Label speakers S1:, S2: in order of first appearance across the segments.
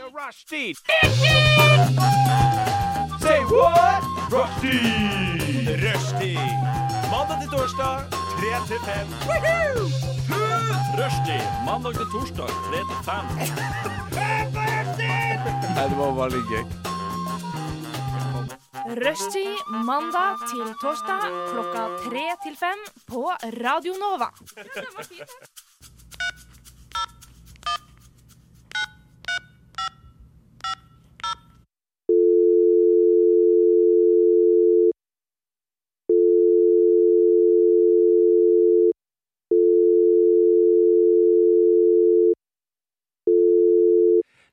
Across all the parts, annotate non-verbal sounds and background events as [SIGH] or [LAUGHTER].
S1: Rushdie! Say what? Rushdie! Rushdie! Mandag til torsdag, 3 til 5. Rushdie! Mandag til torsdag, 3 til 5. Nei, det var veldig gøy.
S2: Rushtid mandag til torsdag klokka tre til fem på Radio Nova.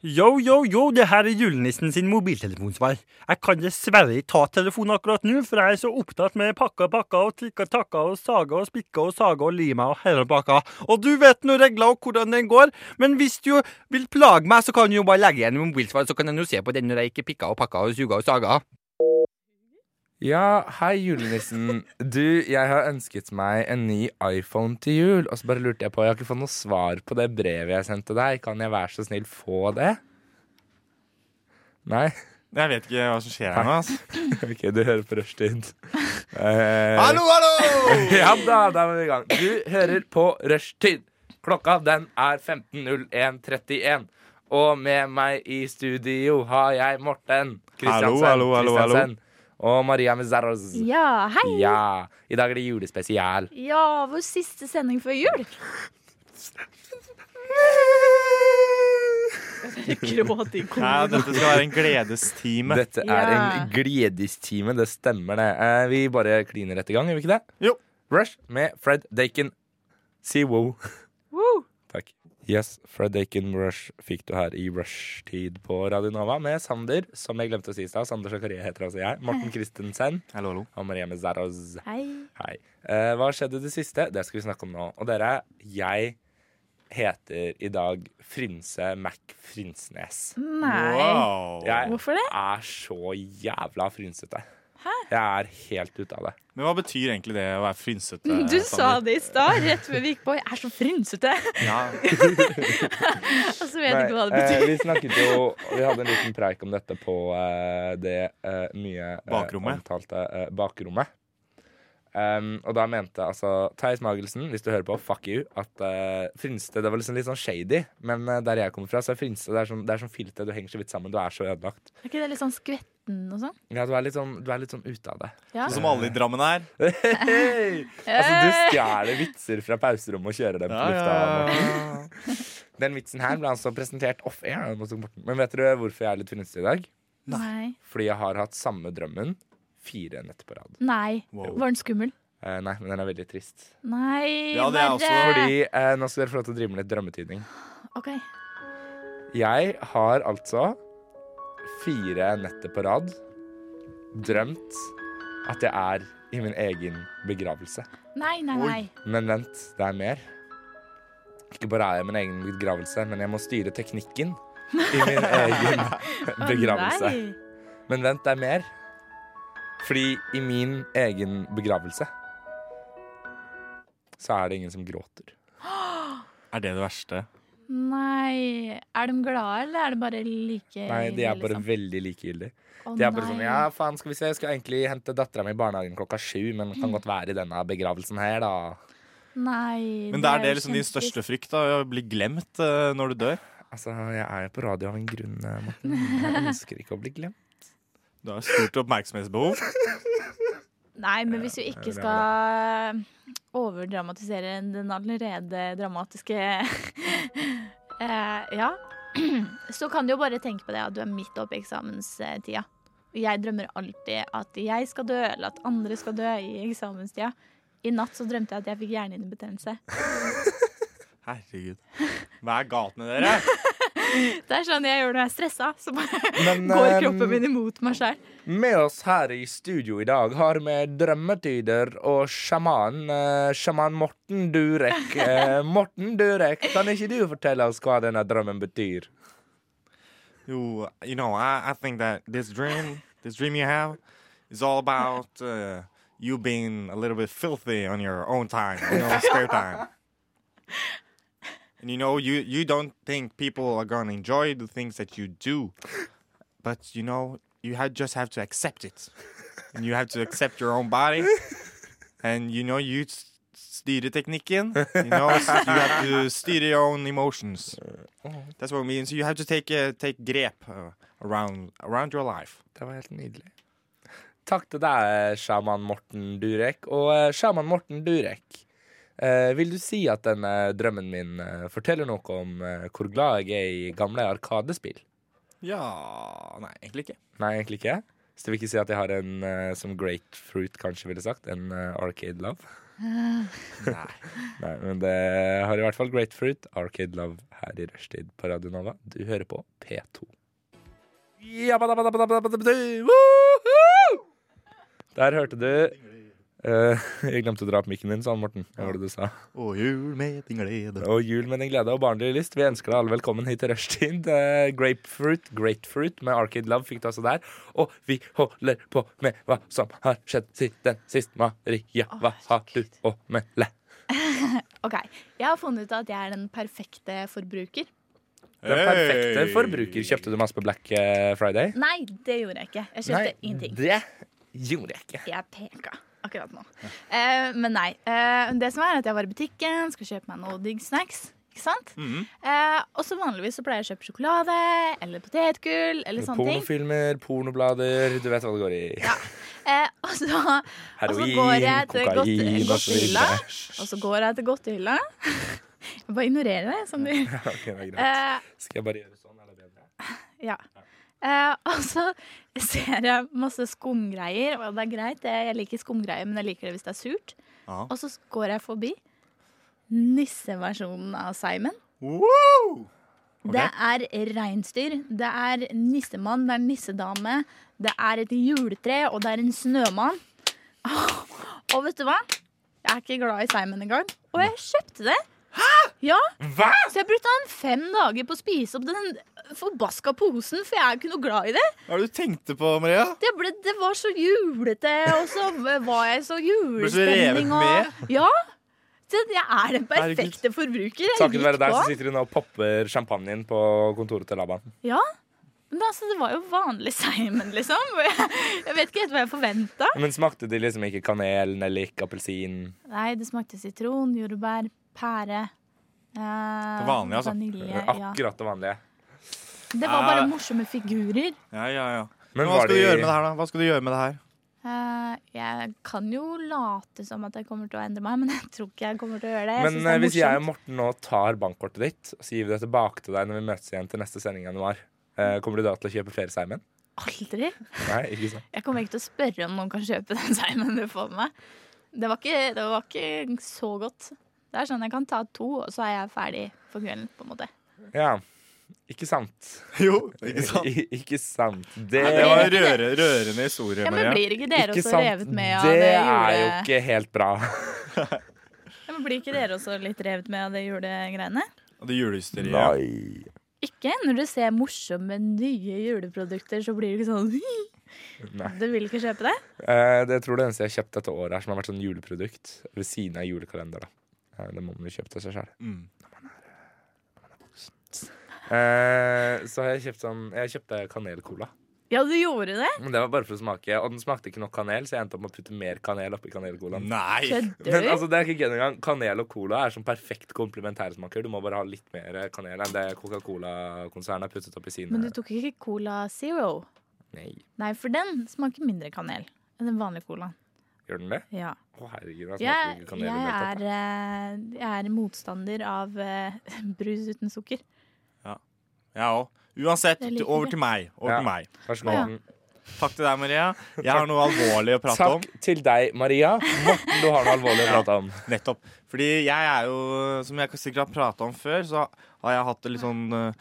S3: Yo, yo, yo, det her er julenissen sin mobiltelefonsvar. Jeg kan dessverre ikke ta telefonen akkurat nå, for jeg er så opptatt med pakka, pakka og tikka, takka og saga og spikka og saga og lima og hele pakka. Og du vet nå regler og hvordan den går, men hvis du vil plage meg, så kan du jo bare legge igjen mobilsvar, så kan jeg nå se på den når jeg ikke pikka og pakka og suga og saga.
S4: Ja, hei julenissen. Du, jeg har ønsket meg en ny iPhone til jul. Og så bare lurte jeg på, jeg har ikke fått noe svar på det brevet jeg sendte deg. Kan jeg være så snill få det? Nei? [LAUGHS]
S5: Jeg vet ikke hva som skjer her nå. Altså.
S4: Ok, du hører på rushtid. Eh,
S5: Hallo, hallo!
S4: [LAUGHS] Ja da, da var vi i gang. Du hører på rushtid. Klokka den er 15.01.31. Og med meg i studio har jeg Morten Kristiansen.
S5: hallo, hallo, hallo.
S4: Kristiansen, Og Maria Mizaros.
S6: Ja, hei!
S4: Ja, i dag er det julespesial.
S6: Ja, vår siste sending før jul. Gråt i
S5: Nei, dette skal være en gledestime.
S4: Dette er en gledestime, det stemmer det. Eh, vi bare kliner rett i gang, gjør vi ikke det?
S5: Jo.
S4: Rush med Fred Dakin. Si wow. Takk. Yes, Fred Dakin Rush fikk du her i Rush-tid på Radio Nova med Sander, som jeg glemte å si i stad. Sander Zakaria heter altså jeg. Morten Christensen
S5: Hallo, hallo.
S4: og Maria Mezaroz.
S6: Hei.
S4: Hei. Eh, hva skjedde i det siste? Det skal vi snakke om nå. Og dere, jeg heter i dag Frynse Mac Frynsnes.
S6: Nei.
S5: Wow.
S4: Jeg
S6: Hvorfor det?
S4: er så jævla frynsete. Jeg er helt ute av det.
S5: Men hva betyr egentlig det å være frynsete?
S6: [LAUGHS] Du sa det i stad, rett før vi gikk på. Jeg er så frynsete! [LAUGHS]
S5: Ja.
S6: Og så vet jeg ikke hva det
S4: eh,
S6: betyr.
S4: vi snakket jo Vi hadde en liten preik om dette på eh, det eh, mye eh,
S5: Bakrommet.
S4: omtalte eh, bakrommet. Um, og da mente altså Theis Magelsen, hvis du hører på, fuck you, at eh, frynsete Det var liksom litt sånn shady, men eh, der jeg kommer fra, så er frynsete det er sånn, det er sånn filte. Du henger så vidt sammen. Du er så ødelagt.
S6: Er ikke det litt sånn skvetten og sånn?
S4: Ja, du er litt sånn, du er litt sånn ute av det.
S6: Ja.
S5: Sånn som alle i Drammen er.
S4: Hei! Altså, du stjeler vitser fra pauserommet og kjører dem på lufta. Morten. Den vitsen her ble altså presentert off-air. av Morten Morten. Men vet dere hvorfor jeg er litt frynsete i dag?
S6: Nei.
S4: Fordi jeg har hatt samme drømmen fire netter på rad.
S6: Nei.
S5: Wow.
S6: Var den skummel?
S4: Eh, nei, men den er veldig trist.
S6: Nei,
S5: Ja, det er også
S6: verre.
S4: Fordi eh, Nå skal dere få lov til å drive med litt drømmetydning.
S6: OK.
S4: Jeg har altså fire netter på rad drømt at jeg er i min egen begravelse.
S6: Nei, nei, nei.
S4: Men vent, det er mer. Ikke bare er jeg min egen begravelse, men jeg må styre teknikken i
S6: [LAUGHS]
S4: min egen
S6: Å,
S4: [LAUGHS] begravelse.
S6: nei.
S4: Men vent, det er mer. Fordi i min egen begravelse så er det ingen som gråter.
S5: Er det det verste?
S6: Nei. Er de glade, eller er det bare like
S4: Nei, de er
S6: ille,
S4: bare
S6: liksom?
S4: veldig likegyldige.
S6: Å,
S4: De er bare
S6: nei.
S4: sånn Ja, faen, skal vi se, jeg skal egentlig hente dattera mi i barnehagen klokka sju, men kan godt være i denne begravelsen her, da.
S6: Nei.
S5: Men det er det
S6: jo
S5: liksom din
S6: kjempetrist.
S5: største frykt, da, å bli glemt eh, når du dør.
S4: Altså, jeg er jo på radio av en grunn, eh, Morten. Jeg ønsker ikke å bli glemt.
S5: Du har stort oppmerksomhetsbehov.
S6: Nei, men hvis vi ikke
S4: det er
S6: skal overdramatisere den allerede dramatiske [LAUGHS] eh, Ja. [CLEARS THROAT] Så kan du jo bare tenke på det at du er midt oppe i eksamenstida. Og Jeg drømmer alltid at jeg skal dø, eller at andre skal dø i eksamenstida. I natt så drømte jeg at jeg fikk hjernehinnebetennelse.
S5: Herregud. Hva er galt med dere?
S6: [LAUGHS] Det er sånn jeg gjør når jeg er stressa. Så bare
S4: Men
S6: går
S4: eh,
S6: kroppen min imot meg sjøl.
S4: Med oss her i studio i dag har vi drømmetyder og sjaman. eh, Sjaman Morten Durek. Eh, Morten Durek, kan ikke du fortelle oss hva denne drømmen betyr?
S5: You, you know, I, I think that this dream, this dream you have, is all about uh, you being a little bit filthy on your own time, on your own spare time. And you know, you, you don't think people are going to enjoy the things that you do. But you know, you had, just have to accept it. And you have to accept your own body. And you know, you s- styre teknikken. You know, s- you have to steer your own emotions. That's what it means. You have to take, uh, take grep uh, around, around your life.
S4: Det var helt nydelig. Takk til deg, eh, sjaman Morten Durek. Og eh, sjaman Morten Durek, eh, vil du si at denne drømmen min eh, forteller noe om eh, hvor glad jeg er i gamle arkadespill?
S5: Ja Nei, egentlig ikke.
S4: Nei, egentlig ikke. Så det vil ikke si at jeg har en, eh, som Grapefruit kanskje ville sagt, en eh, Arcade Love? Nei. Nei, men det har i hvert fall Grapefruit, Arcade Love, her i rushtid på Radio Nova. Du hører på P2. Jabba-dabba-dabba-dabba-dabba-du! Woohoo! Der hørte du eh, Jeg glemte å dra opp mikken din, sa han Morten. Hva var det du sa?
S5: Og jul med din glede.
S4: Og jul med din glede og barnlig lyst. Vi ønsker deg alle velkommen hit til rushtid. Eh, grapefruit, grapefruit med Arcade Love fikk du altså der. Og vi holder på med hva som har skjedd siden sist. Maria, hva har du å melde?
S6: Ok, Jeg har funnet ut at jeg er den perfekte forbruker.
S4: Den perfekte forbruker. Kjøpte du masse på Black eh, Friday?
S6: Nei, det gjorde jeg ikke. Jeg kjøpte ingenting.
S4: det gjorde jeg ikke.
S6: Jeg peka akkurat nå. Eh, men nei. Eh, det som er er at jeg var i butikken, skal kjøpe meg noe digg snacks. Ikke sant?
S4: Mhm.
S6: eh, og så vanligvis så pleier jeg å kjøpe sjokolade eller potetgull eller sånne ting.
S4: Pornofilmer, pornoblader, du vet hva det går i.
S6: Eh, og, så, og så
S4: Heroin,
S6: går jeg til
S4: kokain,
S6: godt-
S4: og så
S6: godtehylla.
S4: videre.
S6: Og så går jeg til godtehylla. [LAUGHS] Jeg bare ignorerer det. Som du.
S4: Ok, det er greit.
S6: Eh,
S4: Skal jeg bare gjøre sånn, er det bedre?
S6: ja. Eh, [LAUGHS] og så ser jeg masse skumgreier, og det er greit. det- Jeg liker skumgreier, men jeg liker det hvis det er surt.
S5: Ja.
S6: Og så går jeg forbi nisseversjonen av Simon.
S5: Woo!
S6: Det er reinsdyr, det er nissemann, det er nissedame, det er et juletre, og det er en snømann. [LAUGHS] Og vet du hva? Jeg er ikke glad i Simon engang. Og jeg kjøpte det. Hæ? Ja.
S4: Hva?!
S6: Så jeg brukte han fem dager på å spise opp den forbaska posen, for jeg er jo ikke noe glad i det.
S5: Hva er det du tenkte på, Maria?
S6: Det, ble, det var så julete, og så var jeg så i
S5: revet
S6: julestemning.
S5: med?
S6: Og, ja. Så jeg er den perfekte forbruker. Jeg
S4: Takket
S6: gikk
S4: være deg
S6: på.
S4: så sitter du nå og popper champagnen på kontoret til Laban.
S6: Ja. Men altså, det var jo vanlig Simon, liksom. [LAUGHS] Og Jeg, jeg vet ikke helt hva jeg forventa.
S4: Men smakte de liksom ikke kanel, nellik, appelsin?
S6: Nei, det smakte sitron, jordbær, pære. Eh,
S5: vanlige, altså.
S6: Vanilje, ja.
S4: Akkurat Eh. det vanlige.
S6: Det var bare morsomme figurer.
S5: Ja, ja, ja.
S4: Men
S5: hva
S4: var
S5: skal du
S4: de-
S5: gjøre med det her, da? Hva skal du gjøre med det her?
S6: Eh, jeg kan jo late som at jeg kommer til å endre meg, men jeg tror ikke jeg kommer til å gjøre det. Jeg
S4: Men
S6: synes
S4: eh, hvis
S6: det er
S4: jeg og
S6: morsomt.
S4: Morten nå tar bankkortet ditt, og så gir vi det tilbake til deg når vi møtes igjen til neste sending i januar, eh, kommer du da til å kjøpe flere Simon?
S6: Aldri.
S4: Nei, ikke sant?
S6: Jeg kommer ikke til å spørre om noen kan kjøpe den Simon du får med meg. Det var ikke, det var ikke så godt. Det er sånn jeg kan ta to, og så er jeg ferdig for kvelden, på en måte.
S4: Ja. Ikke sant.
S5: [LAUGHS] Jo, ikke sant?
S4: [LAUGHS] I- ikke sant. Det,
S5: Det var
S6: blir-
S5: en røre, rørende historie,
S6: Ja, men
S5: Maria.
S6: blir ikke dere
S4: ikke
S6: også
S4: sant.
S6: revet med av det
S4: det er jo
S6: jule...
S4: ikke helt bra.
S6: Ja, men blir ikke dere også litt revet med av det julegreiene?
S5: Og det julehysteriet.
S6: Ikke når du ser morsomme nye juleprodukter, så blir du ikke sånn Du vil ikke kjøpe det?
S4: Eh, det jeg tror det eneste jeg har kjøpt dette året, her som har vært sånn juleprodukt ved siden av julekalender. da. Eh, det må man jo kjøpe til seg sjøl.
S5: Mm.
S4: så har jeg kjøpt sånn Jeg kjøpte kanelcola.
S6: Ja, du gjorde det?
S4: Men det var bare for å smake, og den smakte ikke nok kanel, så jeg endte opp med å putte mer kanel oppi
S6: Mm.
S4: kanelcolaen.
S5: Nei!
S6: Kødder
S4: Men
S6: du?
S4: altså, det er ikke gøy engang. Kanel og cola er som perfekt komplementærsmaker. Du må bare ha litt mer kanel enn det Coca-Cola-konsernet har puttet opp i sine.
S6: Men du tok ikke Cola Zero?
S4: Nei,
S6: Nei, for den smaker mindre kanel enn den vanlige colaen.
S4: gjør den det?
S6: Ja.
S4: Å, herregud, jeg smaker
S6: Jeg,
S4: ikke
S6: jeg,
S4: kanel i det hele
S6: er,
S4: tatt.
S6: eh, jeg er motstander av eh, [LAUGHS] brus uten sukker.
S5: Jeg òg. Uansett,
S6: Jeg liker
S5: over
S6: det.
S5: til meg. Over
S4: Ja.
S5: til meg.
S4: Vær så
S6: Å, ja.
S4: god.
S5: Takk til deg, Maria. Jeg har noe alvorlig å prate om.
S4: Takk til deg, Maria. Morten, du har noe alvorlig å prate om.
S5: Nettopp. Fordi jeg er jo, som jeg sikkert har prata om før, så har jeg hatt det litt sånn eh,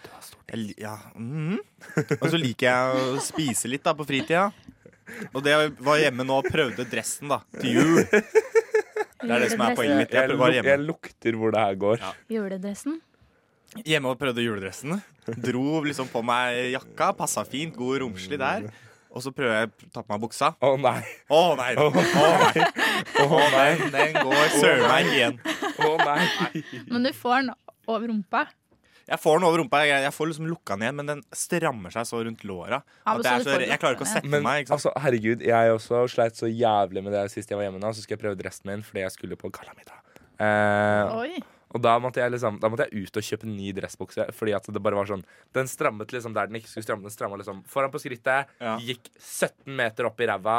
S5: jeg li- ja, mhm. Og så liker jeg å spise litt da på fritida. Og det jeg var hjemme nå og prøvde dressen da til jul. Det er det som er poenget mitt.
S4: Jeg,
S5: [LAUGHS] Jeg var
S4: luk jeg
S5: hjemme,
S4: lukter hvor det her går.
S5: Ja.
S6: Juledressen.
S5: hjemme og prøvde juledressen. Dro liksom på meg jakka, passa fint, god romslig der. Og så prøver jeg å ta på meg buksa.
S4: Å nei.
S5: Å nei! Å nei.
S4: Å nei.
S5: Den går søren meg igjen.
S4: Å nei.
S6: Men du får den over rumpa.
S5: Jeg får den over rumpa, jeg, jeg får liksom lukka den igjen, men den strammer seg så rundt låra.
S6: Ja,
S5: at
S6: men
S5: det
S6: så
S5: er
S6: du
S5: så,
S6: får
S5: jeg klarer ikke å
S6: lukka
S5: sette
S6: den
S4: Men
S5: meg. ikke sant?
S4: altså, herregud, jeg også sleit så jævlig med det sist jeg var hjemme nå, så skulle jeg prøve dressen min fordi jeg skulle på gallamiddag. Eh,
S6: Oi.
S4: og da måtte, jeg liksom, da måtte jeg ut og kjøpe en ny dressbukse. Fordi at det bare var sånn Den strammet liksom der den ikke skulle stramme. Den stramma liksom foran på skrittet,
S5: Ja. Mm.
S4: gikk 17 meter opp i ræva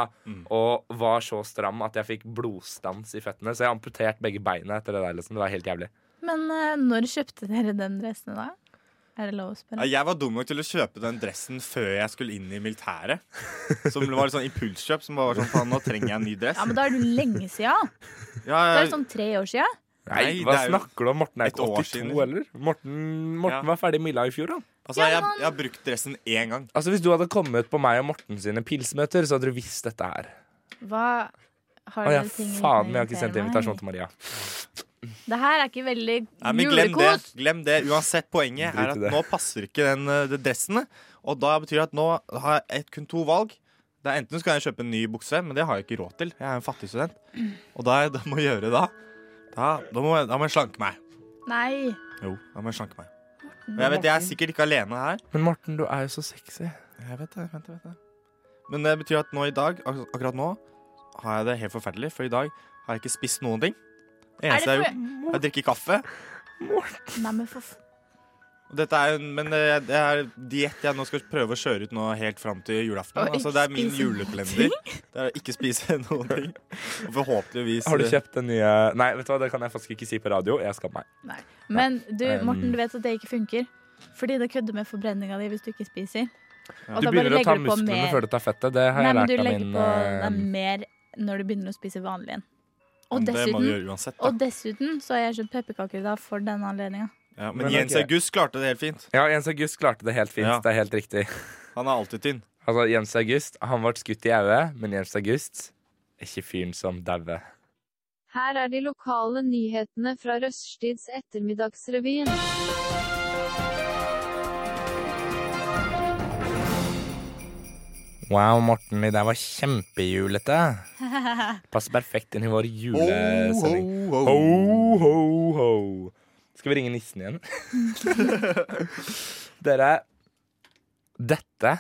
S4: og var så stram at jeg fikk blodstans i føttene. Så jeg amputerte begge beina etter det der. liksom Det var helt jævlig.
S6: Men eh, når kjøpte dere den dressen, da? Er det lov å
S5: Ja,
S6: spørre?
S5: Jeg var dum nok til å kjøpe den dressen før jeg skulle inn i militæret. Som var litt sånn impulskjøp. Som bare var sånn, faen, nå trenger jeg en ny dress.
S6: Ja, men da er det jo lenge sia.
S5: Ja,
S6: Det er
S5: jeg,
S6: jo sånn tre år sia.
S4: Nei,
S5: Nei,
S4: hva
S5: det er jo
S4: snakker du om? Morten er
S5: et
S4: ikke
S5: år
S4: 82,
S5: siden. liksom.
S4: eller? Morten, Morten
S5: Ja.
S4: var ferdig med Milla i fjor, han.
S5: altså, jeg,
S6: sånn-
S5: jeg har brukt dressen én gang.
S4: Altså, hvis du hadde kommet på meg og Morten sine pilsmøter, så hadde du visst dette her.
S6: Hva har
S4: Å ja,
S6: dere ting dere
S4: faen, vi har
S6: inviterer
S4: ikke sendt
S6: meg?
S4: invitasjon til Maria.
S6: Det her er ikke veldig
S5: Nei, men glem det.
S6: julekos.
S5: glem det. Uansett, poenget
S4: Drit i
S5: er at
S4: det.
S5: nå passer ikke den, eh, de dressene. Og da betyr det at nå har jeg et, kun to valg. Det er Enten skal jeg kjøpe en ny bukse, men det har jeg ikke råd til. Jeg er en fattig student. Og da, da må jeg gjøre da Da, da, må, jeg, da må jeg slanke meg.
S6: Nei.
S5: Jo, da må jeg slanke meg. Og jeg vet, jeg er sikkert ikke alene her.
S4: Men Morten, du er jo så sexy.
S5: Jeg vet det, jeg vet det, jeg vet det. Men det betyr at nå i dag, ak akkurat nå, har jeg det helt forferdelig. For i dag har jeg ikke spist noen ting. Det
S6: Er det
S5: eneste jeg har
S6: for...
S5: gjort, jeg drikker kaffe.
S6: Nei, men for...
S5: Og Dette er, en- men eh, det er diett jeg nå skal prøve å kjøre ut nå helt fram til julaften.
S6: Og ikke
S5: Altså, det er min
S6: spise noen
S5: julekalender. Det er å ikke spise [LAUGHS] noen ting. Og forhåpentligvis eh,
S4: Har du kjøpt den nye Nei, vet du hva, det kan jeg faktisk ikke si på radio. Jeg skammer meg.
S6: Men du,
S4: Um.
S6: Morten, du vet at det ikke funker. Fordi det kødder med forbrenninga di hvis du ikke spiser. Og da
S4: Du
S6: bare
S4: begynner å ta
S6: legger du på
S4: musklene
S6: mer.
S4: før du tar fettet. Det har
S6: Nei, men du
S4: jeg lært av
S6: legger
S4: min
S6: på
S4: eh,
S6: deg mer når du begynner å spise vanlig igjen. Og
S5: Det må du
S6: dessuten,
S5: gjøre uansett. Da.
S6: og dessuten så har jeg kjøpt pepperkaker i dag for denne anledninga.
S5: Ja, men
S4: Men
S5: Jens
S4: ok.
S5: August klarte det helt fint.
S4: Ja, Jens August klarte det helt fint.
S5: Ja.
S4: Det er helt riktig.
S5: Han er alltid tynn.
S4: Altså, Jens August han ble skutt i øyet, men Jens August er ikke fyren som dauer.
S7: Her er de lokale nyhetene fra Røststids ettermiddagsrevyen.
S4: Wow, Morten, det der var kjempejulete.
S6: [LAUGHS]
S4: Passer perfekt inn i vår julesending.
S5: ho,
S4: Ho, ho, ho. Skal vi ringe nissen [LAUGHS] igjen? Dere, dette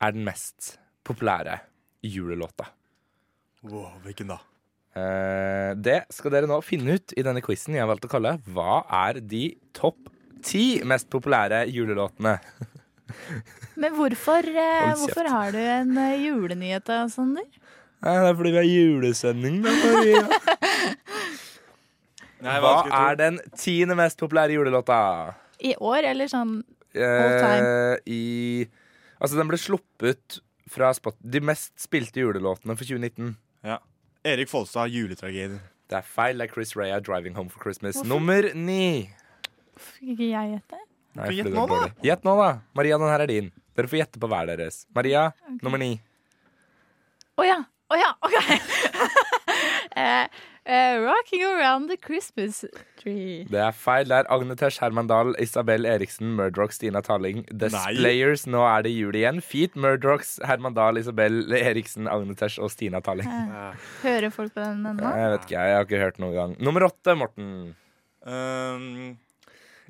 S4: er den mest populære julelåta.
S5: Wow, hvilken da?
S4: Eh, det skal dere nå finne ut i denne quizen jeg har valgt å kalle Hva er de topp ti mest populære julelåtene?
S6: Men hvorfor, eh,
S4: Hold kjeft.
S6: hvorfor har du en eh, julenyhet da, Sander?
S4: Nei, det er fordi vi har julesending, da, Maria. Hva er den tiende mest populære julelåta?
S6: I år, eller sånn All
S4: Eh, I Altså, den ble sluppet fra spot de mest spilte julelåtene for 2019.
S5: Erik Folstad, juletragedien.
S4: Det er feil. Det er Chris Rea, 'Driving Home for Christmas'. Nummer ni.
S6: Fikk ikke jeg gjette?
S4: Nei,
S5: Gjett
S4: fordi det
S5: nå,
S4: er dårlig. Gjett nå, da. Maria, den her er din. Dere får gjette på hver deres. Maria, nummer ni.
S6: Å ja. Å ja, OK. [LAUGHS] Eh, eh, rocking around the Christmas tree.
S4: Det er feil. Det er Agnetesh Hermandal, Isabel Eriksen, Murdrock, Stina Talling. The Splayers, nå er det jul igjen. Feet, Murdrocks, Hermandal, Isabel Eriksen, Agnetesh og Stina Talling.
S6: Hører folk på den ennå?
S4: Jeg vet ikke, jeg har ikke hørt noen gang. Nummer åtte, Morten.
S5: Um,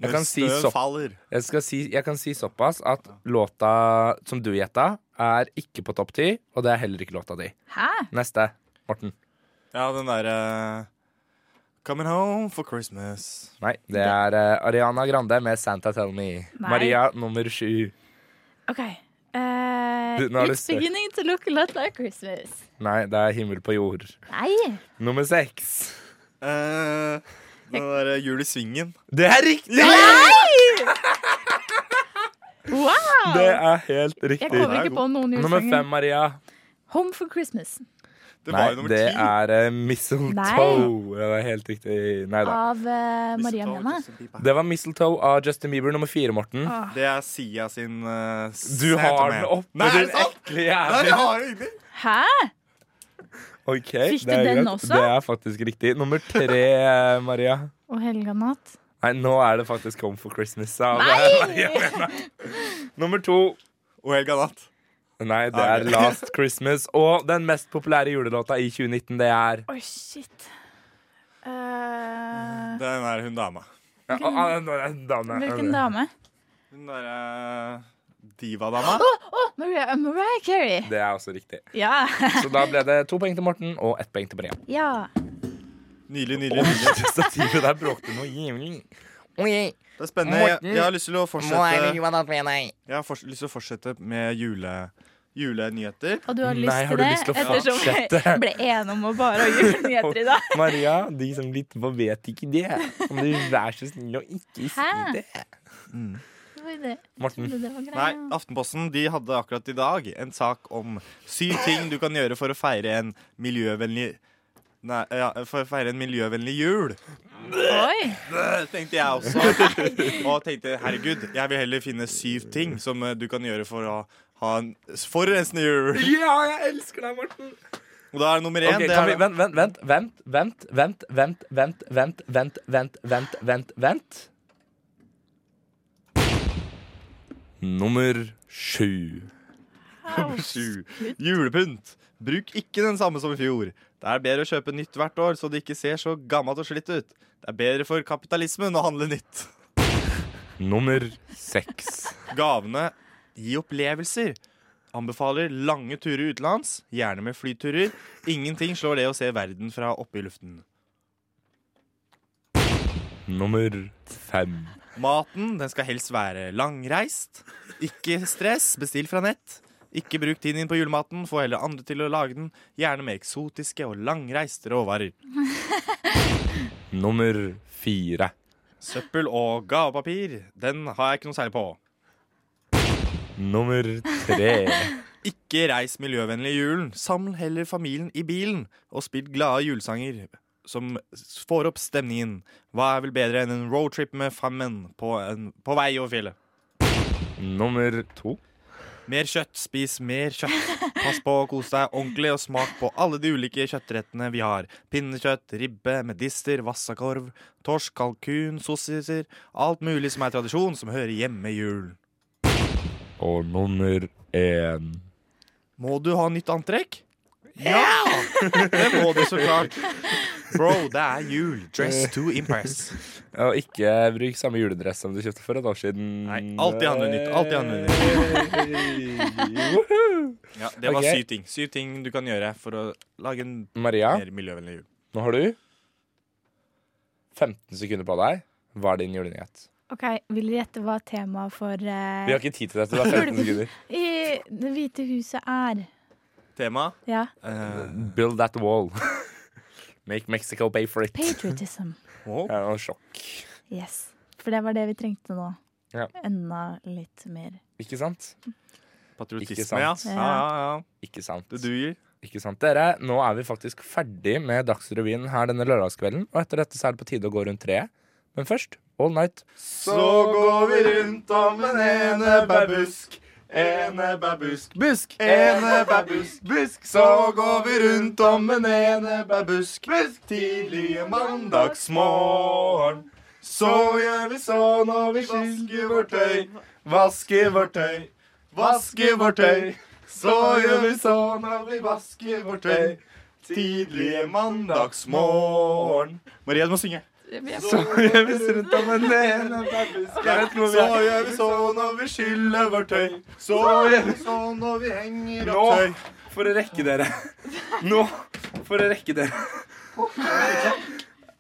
S4: Jeg
S5: når
S4: kan si
S5: snø
S4: sopp.
S5: faller.
S4: Jeg, skal si, jeg kan si såpass at låta som du gjetta, er ikke på topp ti, og det er heller ikke låta di.
S6: Hæ?
S4: Neste, Morten.
S5: Ja, den derre Coming home for Christmas.
S4: Nei, det er eh, Ariana Grande med 'Santa Tell Me'.
S6: Nei.
S4: Maria nummer sju.
S6: OK. Eh,
S4: Du, nå er det
S6: it's
S4: størt.
S6: beginning to look a lot like Christmas.
S4: Nei, det er 'Himmel på jord'.
S6: Nei.
S4: Nummer seks.
S5: Eh, den derre Jul i svingen.
S4: Det er riktig!
S6: Wow!
S4: Det er helt
S6: Jeg
S4: riktig.
S5: Det
S6: kommer
S5: er
S6: ikke på noen
S4: Nummer fem,
S6: julesanger.
S4: Maria.
S6: Home for Christmas
S5: Det var
S4: Nei,
S5: jo nummer
S4: det
S5: ti.
S4: er eh, Mistletoe. Det er helt riktig. Nei da.
S6: av eh, Maria Mena.
S4: Det var Mistletoe av Justin Bieber nummer fire, Morten.
S6: Ah.
S5: Det er Sia sin uh,
S4: Du har den oppe,
S5: Nei, er
S4: din
S5: det sant?
S4: ekle
S5: Nei, jeg
S4: jævel.
S5: har den ikke.
S6: Hæ?
S4: Ok,
S6: Fikk du
S4: det er
S6: den
S4: greit.
S6: også?
S4: Det er faktisk riktig. Nummer tre, eh, Maria.
S6: Og helga natt.
S4: Nei, nå er det faktisk Home for Christmas. Av, eh, Maria [LAUGHS]
S6: Nei!
S4: Mena. Nummer to.
S5: Og Helga Natt.
S4: Nei, det er
S5: Ok.
S4: Last Christmas. Og den mest populære julelåta i 2019, det er
S2: Oi, shit. Eh,
S5: Den er hun dama.
S4: Ja, ah, og- og- og- dame.
S6: Hvilken dame?
S5: Den derre divadama.
S6: Å, Mariah, Mariah Carey.
S4: Det er også riktig.
S6: Ja.
S4: Så da ble det to poeng til Morten og ett poeng til Maria.
S6: [LAUGHS]
S4: [LAUGHS]
S6: ja.
S5: Nylig, nylig,
S4: Og
S5: nylig.
S4: det stativet der bråkte noe jævlig. Oi,
S5: Det er spennende. Jeg,
S4: Morten,
S5: jeg har lyst til å
S4: må jeg
S5: fortsette
S4: ljuve deg med deg?
S5: Jeg har fors- lyst til å fortsette med jule, julenyheter.
S6: Og du har
S4: Nei,
S6: lyst til
S4: har du
S6: det,
S4: lyst til å
S6: ettersom
S4: fortsette?
S6: jeg [LAUGHS] ble enig om å bare ha
S4: [LAUGHS]
S6: julenyheter i dag.
S4: Maria, de som lytter på, vet ikke det. Kan du være så snill å ikke si
S6: Hæ?
S4: det?
S6: Det var det.
S4: Morten.
S6: Det var
S5: Nei,
S6: greia.
S5: Aftenposten de hadde akkurat i dag en sak om syv ting du kan gjøre for å feire en miljøvennlig Nei, ja, for å feire en miljøvennlig jul.
S6: Oi.
S5: Det tenkte jeg også. [LAUGHS] Og tenkte herregud, jeg vil heller finne syv ting som eh, du kan gjøre for å ha en forurensende jul.
S4: Ja, jeg elsker deg, Morten.
S5: Og da er nummer én
S4: Ok,
S5: det
S4: kan vi,
S5: er,
S4: vent, vent, vent, vent, vent, vent, vent, vent, vent, vent, vent, vent, vent, vent. Nummer sju.
S5: Sju. Julepynt. Bruk ikke den samme som i fjor. Det er bedre å kjøpe nytt hvert år, så det ikke ser så gammelt og slitt ut. Det er bedre for kapitalismen å handle nytt.
S4: Nummer seks.
S5: Gavene gi opplevelser. Anbefaler lange turer utenlands, gjerne med flyturer. Ingenting slår det å se verden fra oppe i luften.
S4: Nummer fem.
S5: Maten den skal helst være langreist. Ikke stress, bestill fra nett. Ikke bruk tiden din på julematen, få heller andre til å lage den. Gjerne med eksotiske og langreiste råvarer.
S4: Nummer fire.
S5: Søppel og gavepapir, den har jeg ikke noe særlig på.
S4: Nummer tre.
S5: Ikke reis miljøvennlig i julen. Saml heller familien i bilen og spill glade julesanger som s- får opp stemningen. Hva er vel bedre enn en roadtrip med fammen på, en, på vei over fjellet?
S4: Nummer to.
S5: Mer kjøtt, spis mer kjøtt. Pass på å kose deg ordentlig og smak på alle de ulike kjøttrettene vi har. Pinnekjøtt, ribbe, medister, vassakorv, torsk, kalkun, sossiser. Alt mulig som er tradisjon som hører hjemme i julen.
S4: Og nummer én.
S5: Må du ha nytt antrekk? Ja! Det må du så klart. Bro, det er jul. Dress to impress.
S4: Og ikke bruk samme juledress som du kjøpte for et år siden.
S5: Nei, alltid handle nytt, alltid handle
S4: nytt. [LAUGHS]
S5: Ja, det var
S4: Ok.
S5: syv ting. Syv ting du kan gjøre for å lage en
S4: Maria,
S5: mer miljøvennlig jul.
S4: nå har du 15 sekunder på deg. Hva er din julenyhet?
S6: Ok, Vil dere gjette hva temaet for
S4: Vi
S6: eh,
S4: har ikke tid til dette. Det er 15 sekunder.
S6: i Det hvite huset er?
S5: Tema?
S6: Ja,
S5: eh,
S4: Build that wall. Make Mexico pay for it.
S6: patriotism.
S5: å,
S4: Det er noe sjokk.
S6: Yes. For det var det vi trengte nå.
S4: Ja.
S6: Enda litt mer.
S4: Ikke sant? Ikke
S5: patriotisme, ja.
S4: sant.
S5: Ja, ja, ja.
S4: Ikke sant.
S5: Det duger.
S4: Ikke sant, dere? Nå er vi faktisk ferdig med Dagsrevyen her denne lørdagskvelden. Og etter dette så er det på tide å gå rundt treet. Men først All Night.
S5: Så går vi rundt om en enebærbusk. Enebærbusk, busk, enebærbusk, busk. Så går vi rundt om en enebærbusk, busk. Tidlige mandagsmorgen. Så gjør vi så når vi vasker vårt tøy. Vasker vårt tøy, vasker vårt tøy. Så gjør vi så når vi vasker vårt tøy. Tidlige mandagsmorgen. Maria, du må synge. Så gjør vi så rundt om en enebærbusk. Så gjør vi så når vi skyller vårt tøy. Så gjør vi så når vi henger
S4: Nå.
S5: opp tøy.
S4: For å rekke dere. Nå. For å rekke dere.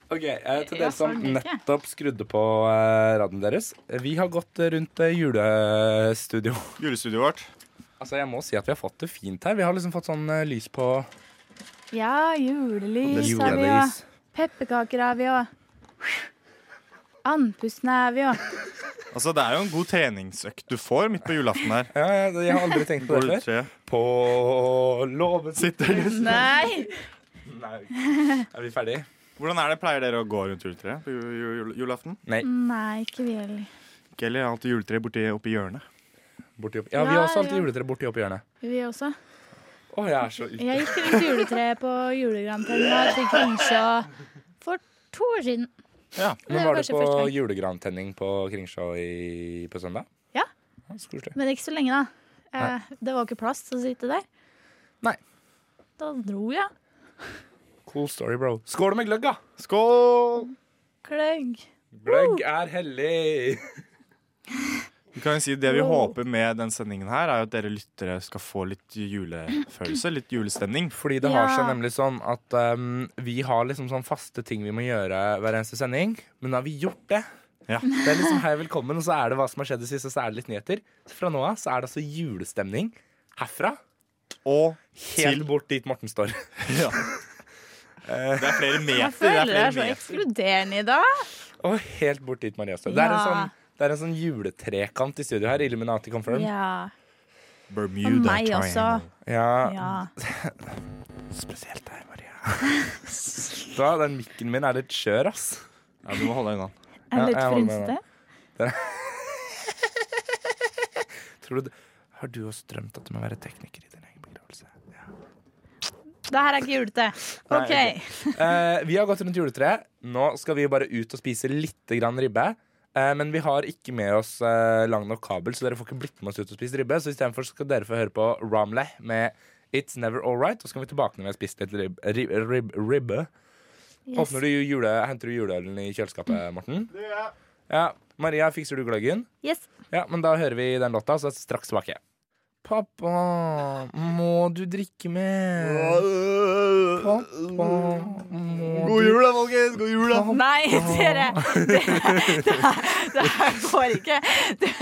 S4: OK, eh, til dere
S6: Ja,
S4: som
S6: sånn gikk jeg.
S4: nettopp skrudde på eh, radioen deres. Vi har gått rundt eh, julestudio.
S5: Julestudioet vårt.
S4: Altså, jeg må si at vi har fått det fint her. Vi har liksom fått sånn eh, lys på
S6: Ja, julelys har vi òg.
S4: julelys.
S6: Pepperkaker har vi òg. Andpustne er vi òg.
S5: Altså, det er jo en god treningsøkt du får midt på julaften her.
S4: Ja, ja, jeg har aldri tenkt på
S5: Går
S4: det
S5: du
S4: før.
S5: tre?
S4: På låven
S5: [LAUGHS] Sitter du?
S6: Nei!
S4: Nei. Er vi ferdige?
S5: Hvordan er det, pleier dere å gå rundt juletreet på ju- ju- jul- julaften?
S6: Nei, ikke vi heller.
S5: Ikke heller, jeg har alltid juletre borti oppi hjørnet.
S4: Borti opp. Ja, vi har også
S6: Ja,
S4: alltid
S6: ja.
S4: juletre borti oppi hjørnet.
S6: Vi også.
S4: Å, jeg er så ute.
S6: Jeg gikk rundt juletreet på julegrantenna til Kringsjå for to år siden.
S5: Ja.
S6: det
S4: Men
S6: er
S4: var du
S6: kanskje
S4: på
S6: første gang.
S4: julegrantenning på Kringsjå i, på søndag?
S6: Ja.
S4: så koselig.
S6: Men ikke så lenge, da. Eh, det var ikke plass til å sitte der.
S4: Nei.
S6: Da dro jeg.
S4: Cool story, bro. Skål med gløgg, da!
S5: Skål!
S6: Kløgg.
S4: Gløgg er hellig!
S5: Vi kan jo si Det vi håper med den sendingen, her er jo at dere lyttere skal få litt julefølelse, litt julestemning.
S4: Fordi det har seg
S6: Ja.
S4: nemlig sånn at um, vi har liksom sånn faste ting vi må gjøre hver eneste sending. Men nå har vi gjort det.
S5: Ja.
S4: Det er liksom hei, velkommen, og så er det hva som har skjedd i sist, og så er det litt nyheter. Så fra nå av så er det altså julestemning herfra
S5: Og
S4: helt bort dit Morten står.
S5: Ja. Det er flere
S6: Jeg
S5: meter.
S6: føler
S5: Det
S6: det
S5: er
S6: er så
S5: flere meter.
S6: ekskluderende i dag.
S4: [LAUGHS] Og helt bort dit Maria står. Det er en
S6: Ja.
S4: sånn det er en sånn juletrekant i studio her. Illuminati confirmed. Ja.
S6: Ja. Og
S5: Bermuda
S6: meg også. Ja.
S4: Spesielt deg, Maria. [LAUGHS] da, den mikken min er litt skjør, ass.
S5: Ja, du må holde deg unna.
S6: Jeg
S4: Ja,
S6: er litt
S4: jeg holder med
S6: frynsete.
S4: Tror du, det- har du også drømt at du må være tekniker i din egen begravelse? Ja.
S6: Det her er ikke julete. OK.
S4: Eh, vi har gått rundt juletreet. Nå skal vi bare ut og spise litt grann ribbe. Eh, men vi har ikke med oss eh, lang nok kabel, så dere får ikke blitt med oss ut og spise ribbe. Så istedenfor skal dere få høre på Ramley med It's Never Alright. Og så kan vi tilbake når vi har spist litt rib, rib, rib, ribbe.
S6: Yes.
S4: Åpner du jule, henter du juleølen i kjøleskapet, Morten? Det gjør jeg. Ja. Maria, fikser du gløggen?
S6: yes.
S4: Ja, men da hører vi den låta, så er jeg straks tilbake. Pappa, må du drikke mer? Pappa, må du
S5: da, folkens! God jul, da!
S6: [LAUGHS] Nei,
S4: [LAUGHS]
S6: dere! Det, det, her, det her går ikke. Det,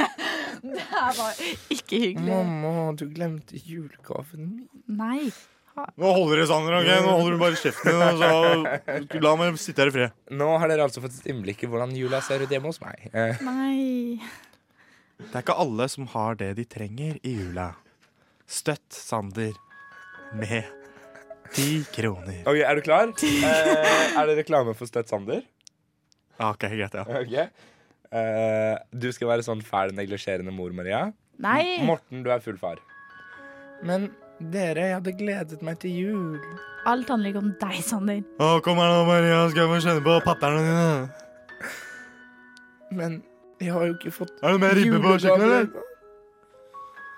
S6: det her var ikke hyggelig.
S4: Mamma, du glemte julegaven min.
S6: Nei.
S5: Nå holder det, Sander. ok? Nå holder du bare kjeften din. og [LAUGHS] så La meg sitte her i fred.
S4: Nå har dere altså fått et innblikk i hvordan jula ser ut hjemme hos meg. Eh,
S6: Nei.
S5: Det er ikke alle som har det de trenger i jula. Støtt Sander med ti kroner.
S4: ok, Er du [LAUGHS] klar? Eh, er det reklame for Støtt Sander?
S5: Ja, Ah, Ok, greit, ja.
S4: Ok. Eh, du skal være sånn fæl, neglisjerende mor, Maria.
S6: Nei.
S4: Morten, du er full far. Men dere, jeg hadde gledet meg til jul.
S6: Alt handler ikke om deg, Sander.
S5: Å, kom her nå, Maria, skal jeg få kjenne på papperne dine.
S4: Men jeg har jo ikke fått
S5: Er det mer ribbe på kjøkkenet, eller?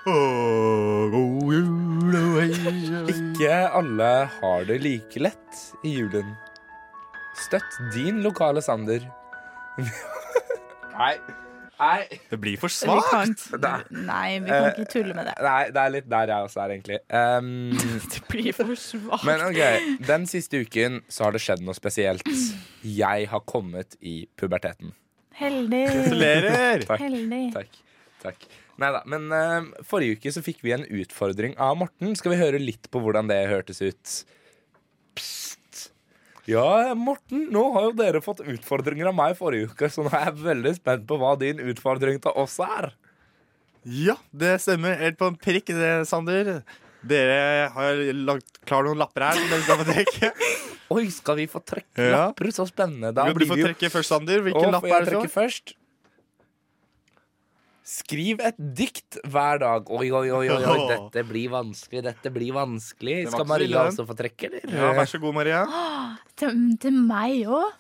S4: julegaver.
S5: Å, god jul og hei, hei.
S4: Ikke alle har det like lett i julen. Støtt din lokale
S5: [LAUGHS]
S4: Sander. Nei. Nei.
S5: Det blir for
S6: Vi
S5: svakt.
S6: kan, nei, vi kan
S4: Eh,
S6: ikke tulle med det. [LAUGHS]
S4: Nei, det er litt der jeg også er, egentlig. Um,
S6: Det blir for svakt.
S4: men OK. Den siste uken så har det skjedd noe spesielt. Jeg har kommet i puberteten.
S6: Heldig.
S5: Gratulerer!
S4: Takk.
S6: Heldig.
S4: Takk. Takk. Neida, men eh, forrige uke så fikk vi en utfordring av Morten. Skal vi høre litt på hvordan det hørtes ut? Psst. Ja, Morten, nå har jo dere fått utfordringer av meg forrige uke, så nå er jeg veldig spent på hva din utfordring til oss er.
S5: Ja, det stemmer. Helt på en prikk, det, Sander. Dere har lagt klar noen lapper her som dere skal få trekke.
S4: Oi, skal vi få trekke
S5: Ja.
S4: lapper? Så spennende. [LAUGHS] Da
S5: Vil du
S4: blir
S5: få
S4: vi jo
S5: trekke først, Sander? Hvilken
S4: Å,
S5: lapp
S4: får jeg
S5: er det
S4: trekke
S5: så?
S4: først? Skriv et dikt hver dag. Oi, oi, oi, oi, oi.
S5: [LAUGHS]
S4: dette blir vanskelig. Dette blir vanskelig.
S5: var
S4: Skal
S5: ikke så ille,
S4: Maria
S5: den.
S4: også få trekke, eller?
S5: Ja, Vær så god, Maria.
S6: Til, til meg òg?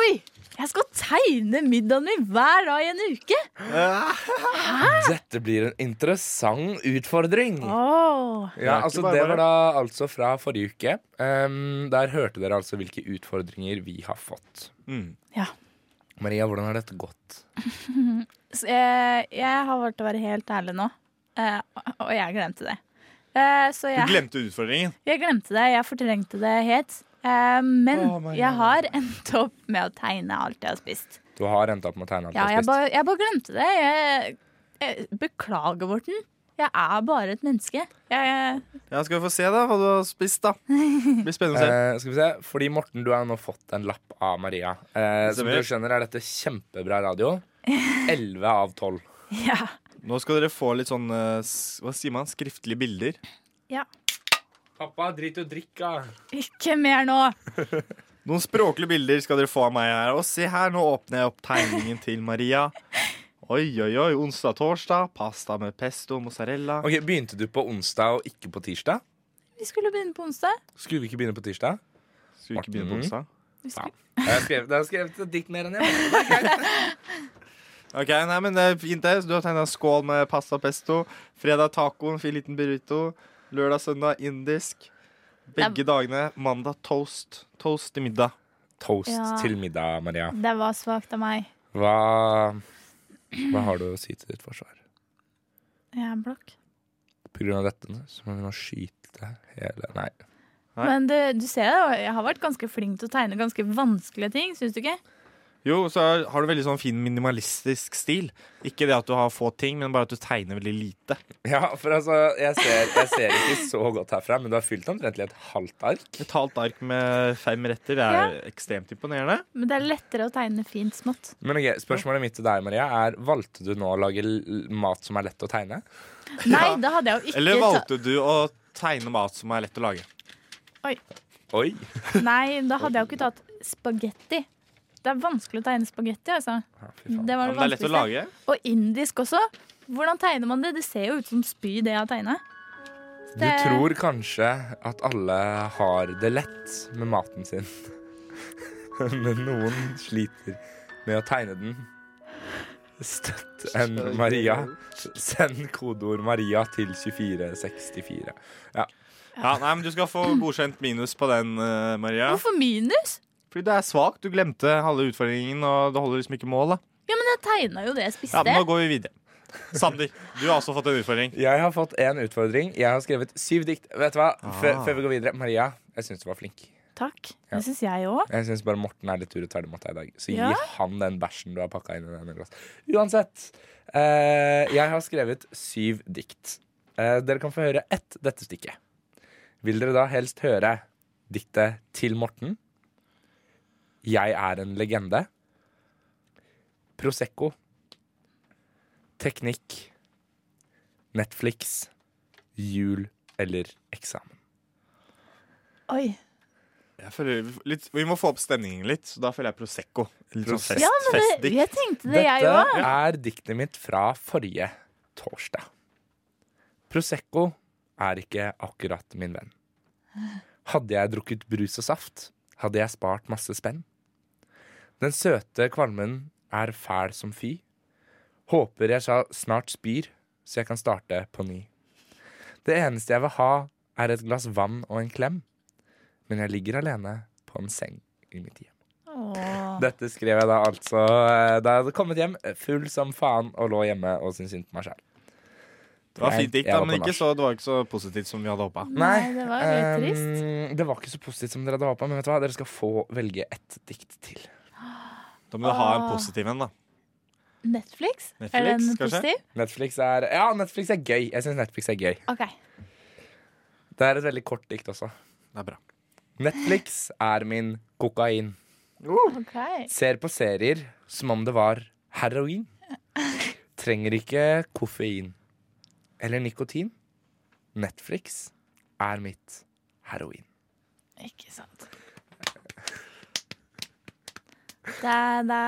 S6: Oi! Jeg skal tegne middagen min hver dag i en uke!
S4: Dette blir en interessant utfordring.
S6: Oh.
S4: Ja,
S5: Det er
S4: altså
S5: ikke bare
S4: Det
S5: bare.
S4: var da altså fra forrige uke. Ehm, der hørte dere altså hvilke utfordringer vi har fått.
S5: Mm.
S6: Ja.
S4: Maria, hvordan har dette gått?
S6: Så jeg, jeg har valgt å være helt ærlig nå, eh, og jeg glemte det. Eh, så
S5: Du
S6: jeg,
S5: glemte utfordringen.
S6: jeg glemte det, jeg fortrengte det helt. Eh, men
S5: Å, Maria.
S6: jeg har endt opp med å tegne alt jeg har spist.
S4: Du har endt opp med å tegne alt
S6: Ja,
S4: du har
S6: jeg
S4: spist.
S6: bare, jeg bare glemte det. Jeg, jeg, beklager, Morten. Jeg er bare et menneske. Jeg, jeg,
S5: Ja, Skal vi få se da hva du har spist, da. Det blir spennende å se.
S4: Eh, skal vi se, fordi Morten, du har nå fått en lapp av Maria. Eh, som du
S5: Stemmer.
S4: skjønner, er dette kjempebra
S6: [LAUGHS]
S4: radio. 11 av 12.
S6: ja.
S4: Eh.
S5: Nå skal dere få litt sånn eh, s- Hva sier man? Skriftlige bilder.
S4: Pappa, drit i å drikke.
S6: [LAUGHS] Ikke mer nå.
S5: Noen språklige bilder skal dere få av meg her. Og se her, nå åpner jeg opp tegningen til Maria. Oi, oi, oi. Onsdag, torsdag. Pasta med pesto, mozzarella.
S4: Ok, Begynte du på onsdag og ikke på tirsdag?
S6: Vi skulle begynne på onsdag.
S4: Skulle vi ikke begynne på tirsdag?
S5: Skal vi ikke begynne på
S4: Morten.
S5: onsdag?
S6: Vi skulle,
S4: Jeg har skrevet, jeg har skrevet et dikt mer enn jeg.
S5: Ok, nei, men det er fint det. Så Du har tegna skål med pasta pesto. Fredag tacoen, fin liten burrito. Lørdag, søndag indisk. Begge dagene mandag toast. Toast til middag.
S4: Toast
S6: Ja.
S4: til middag, Maria.
S6: Det var svakt av meg.
S4: Hva, hva har du å si til ditt forsvar?
S6: Jeg er blokk.
S4: På grunn av dette så må vi nå skyte hele Nei.
S5: Nei.
S6: Men det, du ser det, og jeg har vært ganske flink til å tegne ganske vanskelige ting, syns du ikke?
S5: Jo, så er- har du veldig sånn fin minimalistisk stil. Ikke det at du har få ting, men bare at du tegner veldig lite.
S4: Ja, for altså, jeg ser, jeg ser ikke så godt herfra, men du har fylt omtrent et halvt ark.
S5: Et halvt ark med fem retter det er ekstremt imponerende.
S6: Men det er lettere å tegne fint
S5: [LAUGHS]
S6: smått.
S4: Men ok, Spørsmålet mitt til deg, Maria, er valgte du nå å lage l- mat som er lett å tegne?
S6: Nei, da hadde jeg jo ikke
S5: Eller valgte du å tegne mat som er lett å lage?
S4: Oi.
S6: tatt Nei, da hadde jeg jo ikke tatt spagetti. Det er vanskelig å tegne spagetti, altså.
S4: Ja, fy faen.
S6: Det var
S5: Ja,
S6: det
S5: men det er lett å
S6: vanskeligste.
S5: lage.
S6: Og indisk også. Hvordan tegner man det? Det ser jo ut som spy, det jeg har tegna.
S4: Du tror kanskje at alle har det lett med maten sin, [LAUGHS] men noen sliter med å tegne den. Støtt en Maria. Send kodeord 'Maria' til 2464.
S5: Ja, nei, men Du skal få godkjent minus på den, eh, Maria.
S6: Hvorfor minus?
S5: Fordi det er svakt. Du glemte halve utfordringen, og det holder liksom ikke mål. da
S6: Ja, men jeg tegna jo det jeg spiste.
S5: Ja, men Nå går vi videre. Sander, du har også fått en utfordring.
S4: Jeg har fått én utfordring. Jeg har skrevet syv dikt. Vet du hva? Før,
S5: Ah.
S4: før vi går videre. Maria, jeg syns du var flink.
S6: Takk.
S4: Ja.
S6: Det syns jeg òg.
S4: Jeg syns bare Morten er litt urettferdig mot deg i dag. Så gi
S6: Ja?
S4: han den bæsjen du har pakka inn i denne glass. Uansett. eh, jeg har skrevet syv dikt. Eh, dere kan få høre ett dette stykket. Vil dere da helst høre diktet til Morten? Jeg er en legende. Prosecco. Teknikk. Netflix. Jul eller eksamen.
S6: Oi.
S5: Jeg føler litt, Vi må få opp stemningen litt, så da føler jeg Prosecco. Litt sånn fest,
S6: Ja, men det,
S5: festdikt.
S6: jeg tenkte det, jeg òg.
S4: Dette er diktet mitt fra forrige torsdag. Prosecco er ikke akkurat min venn. Hadde jeg drukket brus og saft, hadde jeg spart masse spenn. Den søte kvalmen er fæl som fy. Håper jeg sa- snart spyr, så jeg kan starte på ny. Det eneste jeg vil ha, er et glass vann og en klem. Men jeg ligger alene på en seng i mitt hjem.
S6: Åh.
S4: [LAUGHS] Dette skrev jeg da altså eh, da jeg hadde kommet hjem full som faen og lå hjemme og syntes synd på meg sjæl.
S5: Det var fint dikt, da, men ikke
S4: så
S5: så, det var ikke så positivt som vi hadde håpa.
S6: Nei, det var jo litt trist.
S4: Ehm, Det var ikke så positivt som dere hadde håpa, men vet du hva? dere skal få velge ett dikt til.
S5: Da må du ha en
S6: Åh.
S5: positiv en, da.
S6: Netflix?
S5: Netflix,
S6: Er den
S5: kanskje?
S6: positiv?
S4: Netflix er Ja, Netflix er gøy. Jeg syns Netflix er gøy.
S6: OK.
S4: Det er et veldig kort dikt også.
S5: Det er bra.
S4: Netflix er min kokain.
S6: ok
S4: Ser på serier som om det var heroin. Trenger ikke koffein eller nikotin. Netflix er mitt heroin.
S6: Ikke sant. Da, da,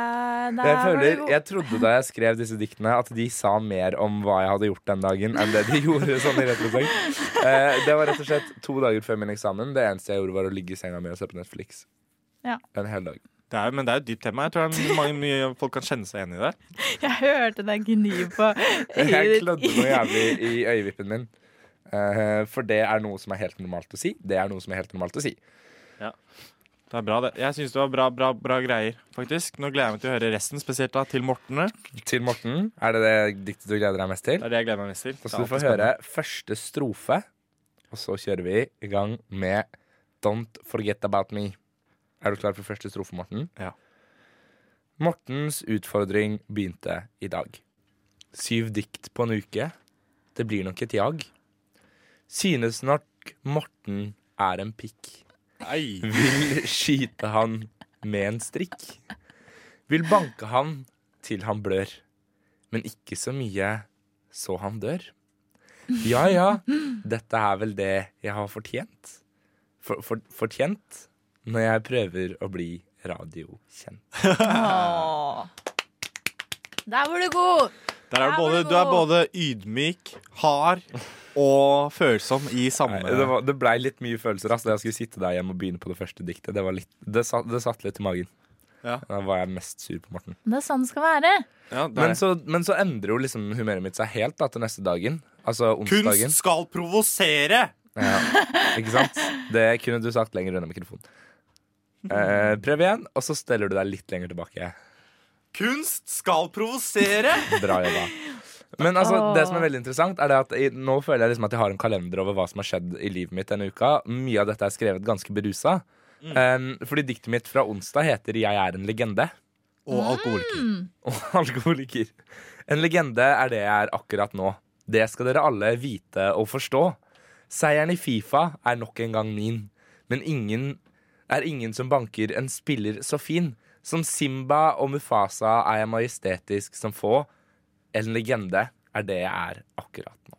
S6: da
S4: Jeg,
S6: var du
S4: føler,
S6: god.
S4: jeg trodde da jeg skrev disse diktene, at de sa mer om hva jeg hadde gjort den dagen, enn det de [LAUGHS] gjorde. sånn i retrospekt. Eh, Det var rett og slett to dager før min eksamen. Det eneste jeg gjorde, var å ligge i senga mi og se på Netflix.
S6: Ja.
S4: En hel dag.
S5: Det er, men det er jo et dypt tema. Jeg tror det er mange, mye folk kan kjenne seg igjen i det.
S6: [LAUGHS] Jeg hørte deg gni på
S4: [LAUGHS] Jeg
S6: øyet
S4: klødde noe jævlig i øyevippen min. Eh, For det er noe som er helt normalt å si. Det er noe som er helt normalt å si.
S5: Det er bra, det. Jeg syns det var bra, bra, bra greier, faktisk. Nå gleder jeg meg til å høre resten, spesielt da, til Mortene.
S4: Til Morten, er det det diktet du gleder deg mest til?
S5: Det er det jeg gleder meg mest
S4: Da
S5: til. Det
S4: skal
S5: er
S4: du få
S5: alltid
S4: høre første strofe, og så kjører vi i gang med Don't Forget About Me. Er du klar for første strofe, Morten?
S5: Ja.
S4: Mortens utfordring begynte i dag. Syv dikt på en uke. Det blir nok et jag. Synes nok Morten er en pikk.
S5: spennende. Nei.
S4: Vil skyte han med en strikk. Vil banke han til han blør. Men ikke så mye så han dør. Ja ja, dette er vel det jeg har fortjent. For, for, fortjent når jeg prøver å bli radiokjent.
S6: Åh. Der var du god!
S5: Der
S6: Der
S5: er du,
S6: var
S5: både,
S6: du
S5: du er
S6: god.
S5: både ydmyk, hard og følsom i samme
S4: Nei, Det, var- det blei litt mye følelser ass, da jeg skulle sitte der hjemme og begynne på det første diktet. Det, var litt, det, satt, det satt litt i magen.
S5: Ja.
S4: Da var jeg mest sur på Morten.
S6: Det er sånn det skal være.
S5: Ja, det er
S4: Men
S5: det.
S4: så, men så endrer jo liksom humøret mitt seg helt da, til neste dagen. Altså onsdagen.
S5: Kunst skal provosere!
S4: Ja, ikke sant? Det kunne du sagt lenger unna mikrofonen. Eh, prøv igjen, og så steller du deg litt lenger tilbake.
S8: Kunst skal provosere!
S4: Bra jobba. Men altså, det som er veldig interessant, er det at i, nå føler jeg liksom at jeg har en kalender over hva som har skjedd i livet mitt denne uka. Mye av dette er skrevet ganske berusa.
S5: Mm.
S4: Eh, fordi diktet mitt fra onsdag heter 'Jeg er en legende'.
S8: Og alkoholiker.
S4: og [LAUGHS] alkoholiker. En legende er det jeg er akkurat nå. Det skal dere alle vite og forstå. Seieren i Fifa er nok en gang min. Men ingen er ingen som banker en spiller så fin. Som Simba og Mufasa er jeg majestetisk som få. En legende er det jeg er akkurat nå.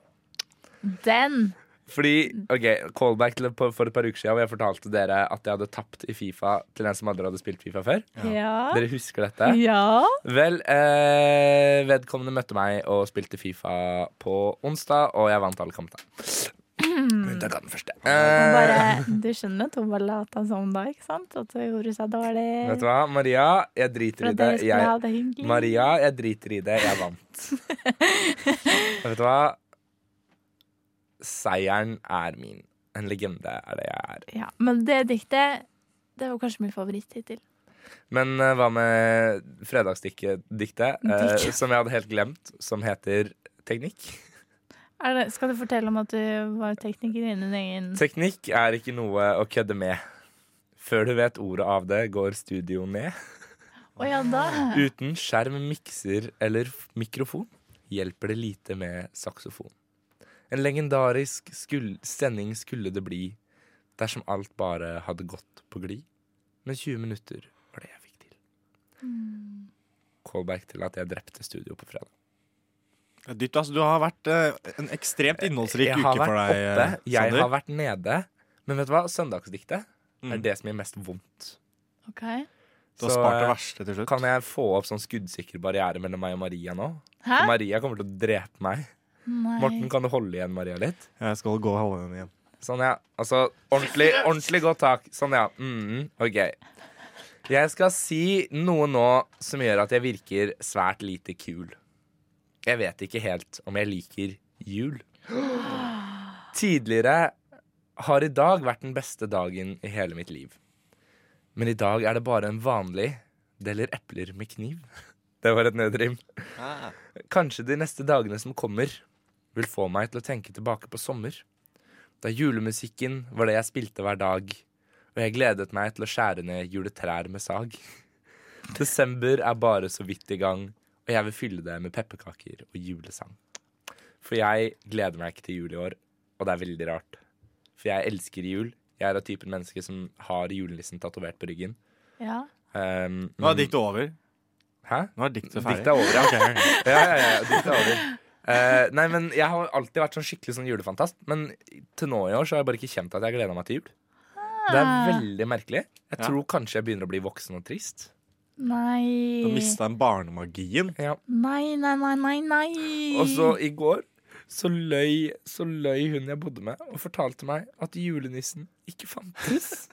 S6: Den!
S4: Fordi, ok, callback til på, for et par uker siden hvor jeg fortalte dere at jeg hadde tapt i Fifa til en som aldri hadde spilt Fifa før.
S6: Ja.
S4: Dere husker
S6: Mm.
S4: dette?
S6: Ja.
S4: Vel, eh, vedkommende møtte meg og spilte Fifa på onsdag, og jeg vant alle kampene. Unntatt av den første.
S6: Hun
S4: Eh,
S6: Bare, du skjønner at hun bare lata som da, ikke sant? At hun gjorde seg dårlig.
S4: Eh, vet du hva, Maria, jeg
S6: For
S4: driter i
S6: at
S4: det.
S6: dere skulle ha
S4: Jeg,
S6: det hyggelig.
S4: Maria, jeg driter i det. Jeg vant. vet du hva? Seieren er min. En legende er det jeg er.
S6: Ja, men det diktet, det var kanskje min favoritt hittil.
S4: Men eh, hva med fredagsdiktet, eh,
S6: Dikk.
S4: som jeg hadde helt glemt, som heter Teknikk?
S6: Er det, skal du fortelle om at du var tekniker i din egen
S4: Teknikk er ikke noe å kødde med. Før du vet ordet av det, går studio ned.
S6: Å ja, da.
S4: Uten skjerm, mikser eller f- mikrofon hjelper det lite med saksofon. En legendarisk skull sending skulle det bli dersom alt bare hadde gått på glid. Men 20 minutter var det jeg fikk til. Callback til at jeg drepte studio på fredag.
S5: Dytt, altså, du har vært eh, en ekstremt innholdsrik
S4: Jeg
S5: uke
S4: har
S5: for
S4: vært
S5: deg,
S4: oppe,
S5: eh,
S4: jeg
S5: Sander.
S4: har vært nede. Men vet du hva? Søndagsdiktet
S5: Mm.
S4: er det som gjør mest vondt.
S6: Ok.
S5: Du har
S4: Så,
S5: spart
S4: eh,
S5: det verste til slutt.
S4: Kan jeg få opp sånn skuddsikker barriere mellom meg og Maria nå?
S6: Hæ?
S4: Maria kommer til å drepe meg.
S6: Nei.
S4: Morten, kan du holde igjen Maria litt?
S5: Jeg skal gå og holde den igjen.
S4: Sånn, ja. Altså, ordentlig, ordentlig godt tak. Sånn, ja. Mm, OK. Jeg skal si noe nå som gjør at jeg virker svært lite kul. Jeg vet ikke helt om jeg liker jul. Tidligere har i dag vært den beste dagen i hele mitt liv. Men i dag er det bare en vanlig deler epler med kniv. [LAUGHS] Det var et nødrim. Kanskje de neste dagene som kommer, vil få meg til å tenke tilbake på sommer. Da julemusikken var det jeg spilte hver dag, og jeg gledet meg til å skjære ned juletrær med sag. [LAUGHS] Desember er bare så vidt i gang, og jeg vil fylle det med pepperkaker og julesang. For jeg gleder meg ikke til jul i år, og det er veldig rart. For jeg elsker jul. Jeg er av typen menneske som har julenissen tatovert på ryggen.
S6: Ja.
S4: Um,
S5: Nå er diktet over.
S4: Hæ?
S5: Nå er diktet ferdig.
S4: Diktet er over, ja. ja, ja, ja diktet er over. Eh, nei, men Jeg har alltid vært sånn skikkelig sånn julefantast, men til nå i år så har jeg bare ikke kjent at jeg gleder meg til jul. Det er veldig merkelig. Jeg
S5: Ja.
S4: tror kanskje jeg begynner å bli voksen og trist.
S5: Du
S6: Nei.
S5: mista den barnemagien.
S4: Ja.
S6: Nei, nei, nei, nei, nei.
S4: Og så i går så løy, så løy hun jeg bodde med, og fortalte meg at julenissen ikke fantes.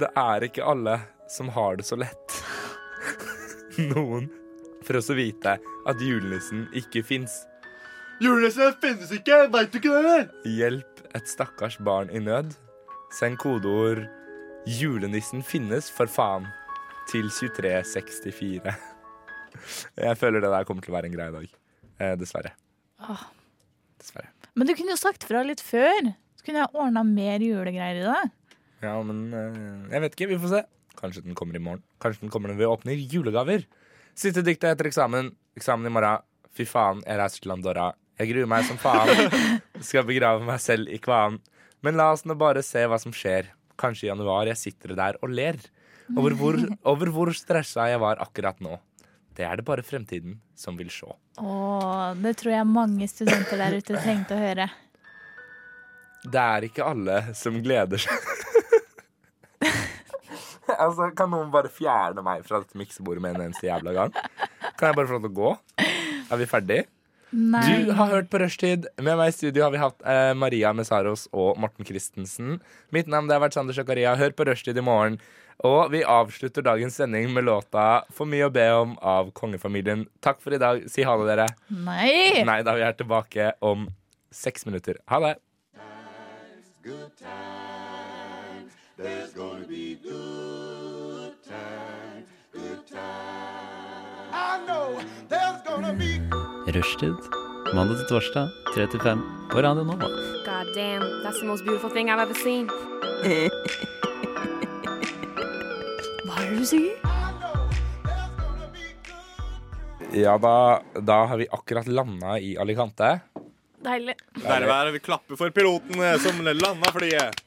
S4: Det er ikke alle som har det så lett. [LAUGHS] Noen for også vite at julenissen ikke fins.
S8: Julenissen finnes ikke! Veit du ikke det?
S4: Hjelp et stakkars barn i nød. Send kodeord 'Julenissen finnes, for faen' til 2364. Jeg føler det der kommer til å være en greie i dag. Eh, dessverre.
S6: Åh.
S4: Dessverre.
S6: Men du kunne jo sagt fra litt før. Så kunne jeg ordna mer julegreier i dag.
S4: Ja, men eh, jeg vet ikke. Vi får se. Kanskje den kommer i morgen. Kanskje den kommer når vi åpner julegaver. Siste diktet etter eksamen. Eksamen i morgen. Fy faen, jeg reiser til Andorra. Jeg gruer meg som faen. Skal begrave meg selv i kvanen. Men la oss nå bare se hva som skjer. Kanskje i januar jeg sitter der og ler. Over hvor, over hvor stressa jeg var akkurat nå. Det er det bare fremtiden som vil se.
S6: Åh, det tror jeg mange studenter der ute trengte å høre.
S4: Det er ikke alle som gleder seg. [LAUGHS] altså, kan noen bare fjerne meg fra dette miksebordet med en eneste jævla gang? Kan jeg bare få lov til å gå? Er vi ferdige?
S6: Nei.
S4: Du har hørt på Rushtid. Med meg i studio har vi hatt eh, Maria Messaros og Morten Christensen. Mitt navn det har vært Sander Sjakaria. Hør på Rushtid i morgen. Og vi avslutter dagens sending med låta 'For mye å be om' av kongefamilien. Takk for i dag. Si ha det, dere.
S6: Nei.
S4: Nei da, vi er tilbake om seks minutter. Ha det.
S9: Rushtid. Mandag til torsdag, 3 til 5 på Radio Nova.
S2: God damn, that's the most beautiful thing I've ever seen. Hva er det du sier?
S4: Ja, da, da har vi akkurat landa i Alicante.
S2: Deilig.
S5: Der er vi klapper for pilotene som landa flyet.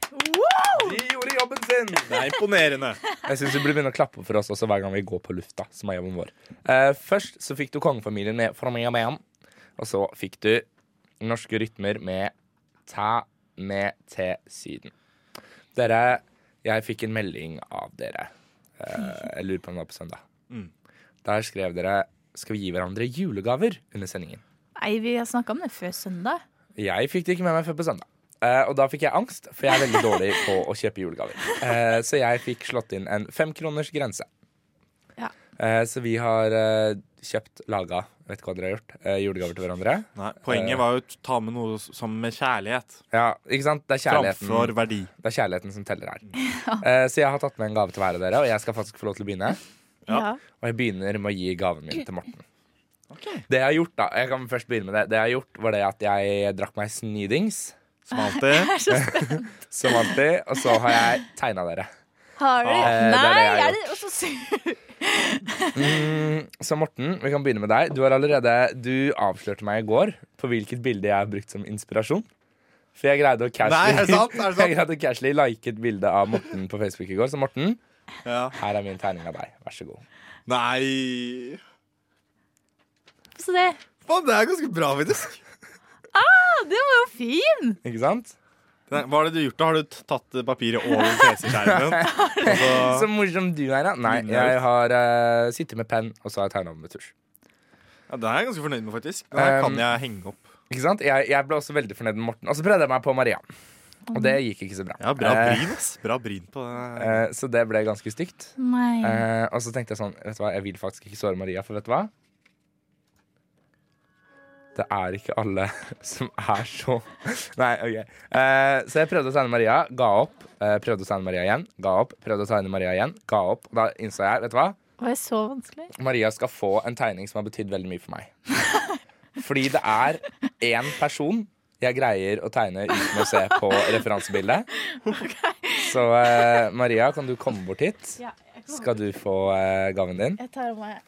S4: De gjorde jobben sin!
S5: Det er imponerende.
S4: Jeg syns du burde begynne å klappe for oss også hver gang vi går på lufta, som er jobben vår. Eh, først så fikk du kongefamilien med fra meg og meg, og så fikk du norske rytmer med Ta med til Syden. Dere, jeg fikk en melding av dere. Eh, jeg lurer på om det var på søndag.
S5: Mm.
S4: Der skrev dere skal vi gi hverandre julegaver under sendingen.
S6: Nei, vi har snakka om det før søndag.
S4: Jeg fikk det ikke med meg før på søndag. Eh, og da fikk jeg angst, for jeg er veldig dårlig på å kjøpe julegaver. Eh, så jeg fikk slått inn en femkroners grense.
S6: Ja.
S4: Eh, så vi har eh, kjøpt, laga, jeg vet ikke hva dere har gjort, eh, julegaver til hverandre.
S5: Nei,
S4: eh.
S5: poenget var jo å ta med noe som med kjærlighet
S4: Ja, ikke sant? Det er kjærligheten,
S5: framfor verdi.
S4: det er kjærligheten som teller her. Eh, så jeg har tatt med en gave til hver av dere, og jeg skal faktisk få lov til å begynne.
S5: Ja.
S4: Og jeg begynner med å gi gaven min til Morten. Det jeg har gjort, da, jeg kan først begynne med det. Det jeg har gjort, var det at jeg drakk meg snidings,
S5: Som alltid.
S6: Jeg er så spent.
S4: som alltid, og så har jeg tegna dere.
S6: Har du?
S4: Eh, det er det
S6: Nei,
S4: jeg har
S6: er det også sur?
S4: Mm, så Morten, vi kan begynne med deg. Du, har allerede, du avslørte meg i går på hvilket bilde jeg har brukt som inspirasjon. For jeg greide å
S5: Nei, er det
S4: casually,
S5: sant? Er det
S4: [LAUGHS]
S5: sant?
S4: jeg greide å casually like et bilde av Morten på Facebook i går. Så Morten,
S5: Ja.
S4: her er min tegning av deg. Vær så god.
S5: Nei
S6: Så det,
S5: Faen, det er ganske bra, faktisk.
S6: ja, det var jo fin!
S4: Ikke sant?
S5: Nei, Hva har det du gjort? da? Har du tatt papiret over [LAUGHS] PC-skjermen? Og så-
S4: Så morsom du er, da. Nei,
S5: Nydelig.
S4: jeg har eh, sittet med penn, og så har jeg tegna med tusj.
S5: Ja, det er jeg ganske fornøyd med, faktisk. Det her
S4: Um,
S5: kan jeg henge opp.
S4: Ikke sant? Jeg, jeg ble også veldig fornøyd med Morten. Og så prøvde jeg meg på Maria. Og det gikk ikke så bra.
S5: Mhm. Ja, bra
S4: Eh,
S5: bryn, ass. Bra bryn på det.
S4: eh, så det ble ganske stygt.
S6: Nei.
S4: Eh, og så tenkte jeg sånn, vet du hva, jeg vil faktisk ikke såre Maria, for vet du hva? Det er ikke alle [LAUGHS] som er så [LAUGHS] Nei, OK. Eh, så jeg prøvde å tegne Maria, ga opp. Eh, prøvde å tegne Maria igjen, ga opp. Prøvde å tegne Maria igjen, ga opp. Og da innså jeg, vet du hva,
S6: Var det så vanskelig?
S4: Maria skal få en tegning som har betydd veldig mye for meg. Fordi det er én person jeg greier å tegne uten å se på referansebildet. Så eh, Maria, kan du komme bort hit? Skal du få eh, gaven din?
S6: Jeg tar av meg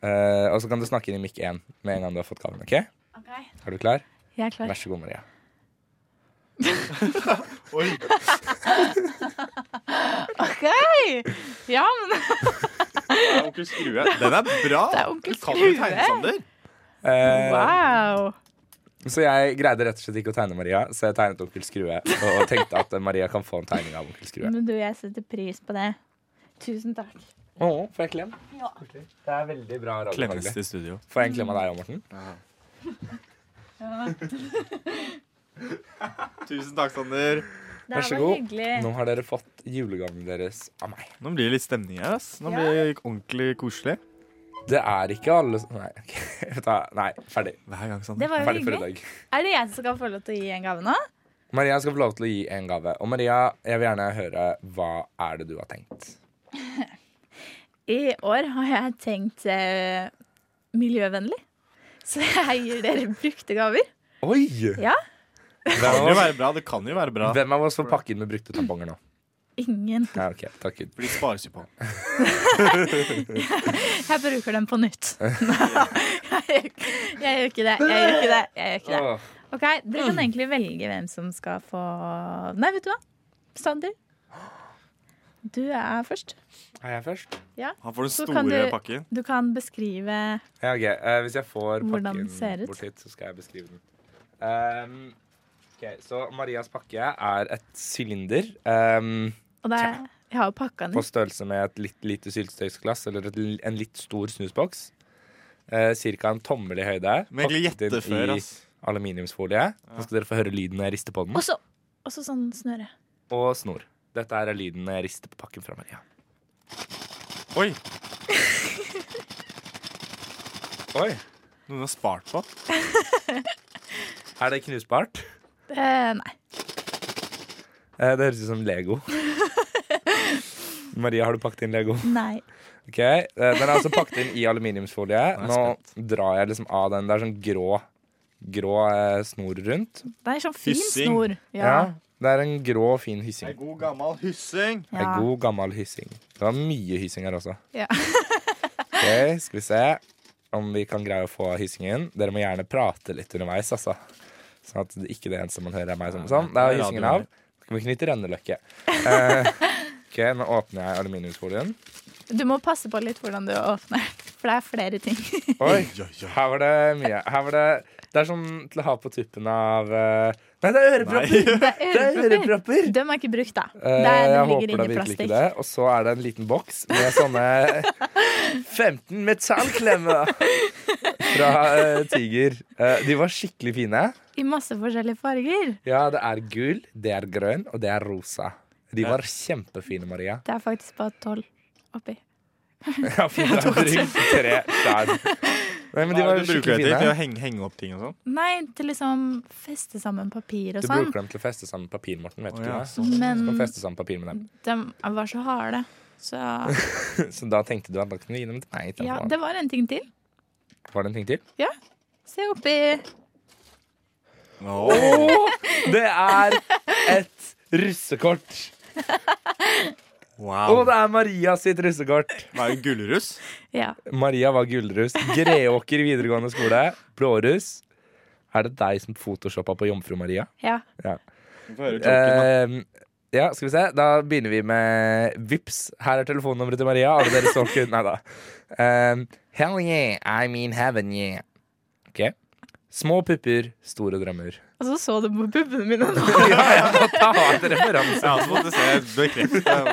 S4: Eh, og så kan du snakke inn i mikk 1 med en gang du har fått gaven. ok? Er du klar?
S6: Jeg er klar.
S4: Vær så god, Maria.
S8: Oi,
S6: OK! Ja, men
S5: Onkel Skrue. Den er bra!
S6: Det er onkel
S5: Du kan jo
S6: Skrue.
S5: tegne, Sander.
S4: Eh,
S6: wow!
S4: Så jeg greide rett og slett ikke å tegne Maria, så jeg tegnet Onkel Skrue. Og tenkte at eh, Maria kan få en tegning av Onkel Skrue.
S6: Men du, jeg setter pris på det. Tusen takk.
S4: Å, får jeg klem? Det er veldig bra radio.
S5: Klemmes
S4: Norge.
S5: til studio.
S4: Får jeg en klem av deg òg, Morten?
S5: Tusen takk, Sander.
S6: Det
S4: Vær så
S6: her
S4: god.
S6: var hyggelig.
S4: Nå har dere fått julegaven deres av meg.
S5: Nå blir det litt stemning her. ass. Nå
S6: Ja.
S5: blir det ordentlig koselig.
S4: Det er ikke alle som Nei, ok, [LAUGHS] vet du hva. Nei ferdig.
S5: Hver gang,
S6: Det
S5: Sander.
S6: var jo
S4: Ferdig for i
S6: hyggelig.
S4: dag.
S6: Er det jeg som skal få lov til å gi en gave nå?
S4: Maria skal få lov til å gi en gave. Og Maria, jeg vil gjerne høre hva er det du har tenkt.
S6: I år har jeg tenkt eh, miljøvennlig. Så jeg gir dere brukte gaver.
S4: Oi!
S6: Ja.
S5: Det
S4: Hvem
S5: kan jo
S4: av oss,
S5: være bra. Det kan jo være bra.
S4: hvem av oss får pakke inn med brukte tamponger nå?
S6: Ingen.
S4: Ja, ok, takk Gud.
S5: For de spares jo på.
S6: Jeg bruker dem på nytt.
S4: [LAUGHS]
S6: jeg, gjør- jeg gjør ikke det. Jeg gjør ikke det. Jeg gjør ikke det.
S4: Åh,
S6: Ok, Dere kan egentlig velge hvem som skal få Nei, vet du hva? Sander. Du er først.
S4: er jeg først?
S5: Han får den
S6: Så
S5: store
S6: kan du-
S5: pakken.
S6: Du kan beskrive
S4: Ja, ok. eh, hvis jeg får
S6: Hvordan
S4: pakken
S6: den ser ut.
S4: bort hit, så skal jeg beskrive den. Ehm, ok, så Marias pakke er et sylinder ehm,
S6: Og det er, jeg har jo pakka den
S4: på
S6: ut.
S4: størrelse med et litt lite syltetøysglass eller et, l- en litt stor snusboks. Uh, cirka en tommel i høyde.
S5: Men egentlig
S4: pakket inn
S5: gjette før,
S4: i
S5: ass.
S4: Aluminiumsfolie. Nå skal dere få høre lyden når jeg rister på den.
S6: Og så og så sånn snøre.
S4: Og snor. Dette er lyden når jeg rister på pakken fra Maria.
S5: Oi,
S4: Oi,
S5: noen har spart på.
S4: Er det knusbart?
S6: Eh, nei.
S4: Eh, Det høres ut som [LAUGHS] Lego. Maria, har du pakket inn Lego?
S6: Nei.
S4: Ok, eh, Den er altså pakket inn i aluminiumsfolie. Nå drar jeg liksom av den. Det er sånn grå, grå eh, snor rundt.
S6: Det er sånn fin
S5: Hyssing.
S6: snor.
S4: Ja, Det er en grå, fin hyssing.
S5: god gammel hyssing.
S6: Ja.
S4: Ei god, gammel hyssing. Det var mye hyssing her også.
S6: Ja.
S4: [LAUGHS] ok, Skal vi se om vi kan greie å få hyssingen. Dere må gjerne prate litt underveis, altså. Sånn at det ikke det eneste man hører, er meg. Sånn. sånn. Da er
S5: det er
S4: hyssingen
S5: radioen
S4: av. Skal vi knytte renneløkke? Eh, ok, nå åpner jeg aluminiumsfolien.
S6: Du må passe på litt hvordan du åpner, [LAUGHS] for det er flere ting.
S4: Oi, her var det mye. Her var det Det er sånn til å ha på tuppen av eh, Nei, det er ørepropper!
S6: Det [LAUGHS] er ørepropper.
S4: ørepropper!
S6: De er ikke brukt, da. Det
S4: Eh,
S6: er,
S4: jeg
S6: de ligger
S4: håper da
S6: inni
S4: virkelig ikke
S6: plastikk.
S4: det. Og så er det en liten boks med
S6: [LAUGHS]
S4: sånne 15 metallklemmer fra eh, Tiger. Eh, de var skikkelig fine.
S6: I masse forskjellige farger.
S4: Ja, det er gul, det er grønn, og det er rosa. De var kjempefine, Maria.
S6: [LAUGHS] Det er faktisk bare tolv oppi.
S4: Ja, fy, det er brukt tre skjær. Nei, men de var
S5: du bruker
S4: skikkelig
S5: det til? Til
S4: fine.
S5: å henge, henge opp ting og sånn?
S6: Nei, til liksom feste sammen papir og
S4: Du
S6: sånn.
S4: bruker dem til å sånn. feste sammen papir, Morten. Vet du
S5: Å,
S4: ikke
S5: ja,
S4: det?
S6: Men
S4: Du kan feste sammen papir med dem.
S6: de var så harde. Så
S4: [LAUGHS] Så da tenkte du at da kunne du gi dem til meg.
S6: ja,
S4: istedenfor.
S6: det var en ting til.
S4: Var det en ting til?
S6: Se oppi.
S4: Åh, det er et russekort. Å,
S5: Wow.
S4: det er Maria sitt russekort.
S5: Var det gullruss?
S6: Ja.
S4: Maria var gullruss. Greåker videregående skole. Blåruss. Er det deg som photoshoppa på Jomfru Maria?
S6: ja.
S4: Eh, ja, skal vi se. Da begynner vi med Vips. Her er telefonnummeret til Maria. Alle dere stalker Nei da. Eh, hell yeah, I mean heaven yeah. Ok. Små pupper, store drømmer.
S6: Og så så du på puppene mine nå.
S4: [LAUGHS] Ja, jeg må ta et referanse.
S5: Ja, så måtte jeg se bekreftet.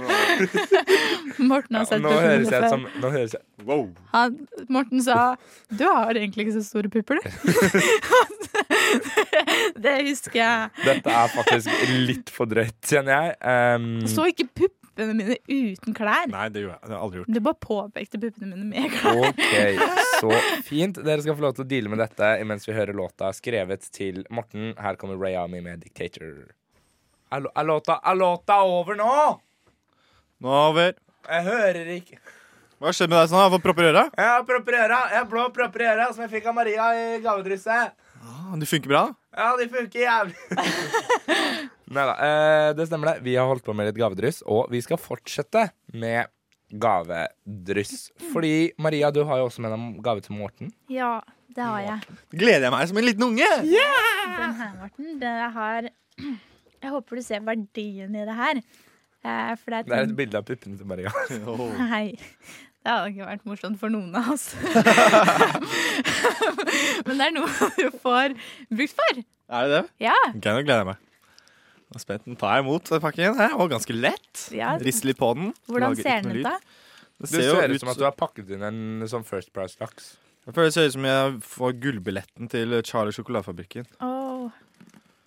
S6: Morten har
S4: Ja,
S6: sett
S4: nå
S6: puppene mine
S4: høres jeg ut
S6: før.
S4: som nå høres jeg,
S5: Wow.
S6: Han, Morten sa 'du har egentlig ikke så store pupper, du'. [LAUGHS] det husker jeg.
S4: Dette er faktisk litt for drøyt, kjenner jeg.
S5: Mm.
S4: Ehm,
S6: Så ikke puppene mine uten klær.
S5: Nei, det gjorde jeg. Det har jeg aldri gjort.
S6: Du bare påpekte puppene mine med klær.
S4: OK, så fint. Dere skal få lov til å deale med dette imens vi hører låta skrevet til Morten. Her kommer Ray Army med 'Dictator'. Er lå- er låta, er låta over nå?
S5: Nå er det over.
S4: Jeg hører ikke
S5: Hva skjedde med deg sånn? Har du fått propper i øra?
S4: Jeg har propper i øra. Jeg har blå propper i øra som jeg fikk av Maria i gavedrysset.
S5: Ah, Du funker bra.
S4: Ja, de funker jævlig. [LAUGHS] Nei da. Eh, det stemmer, det. Vi har holdt på med litt gavedryss, og vi skal fortsette med gavedryss. Fordi Maria, du har jo også med deg gave til Morten.
S6: Ja, det har jeg.
S5: Gleder jeg meg som en liten unge.
S6: Den her, Morten, det har Jeg håper du ser verdien i det her. Eh, For det er,
S4: Det er
S6: ting-
S4: et bilde av puppene til Maria.
S6: Nei. Det hadde ikke vært morsomt for noen av
S5: [LAUGHS]
S6: oss. [LAUGHS] Men det er noe du får brukt for.
S5: Er det det?
S6: Ja.
S5: Ok, nå gleder jeg meg. Og spent den tar jeg imot den pakken. Her. Og ganske lett.
S6: Ja.
S5: Rister litt på den.
S6: Hvordan
S5: Lager
S6: ser
S5: ikke
S6: den
S5: noe
S6: ut,
S5: lyd.
S6: da?
S5: Det
S4: Det
S5: ser jo
S4: ser
S5: ut
S4: ut som at du har pakket inn en sånn First Price-laks.
S5: Jeg føler det ser ut som jeg får gullbilletten til Charlie sjokoladefabrikken.
S6: Åh.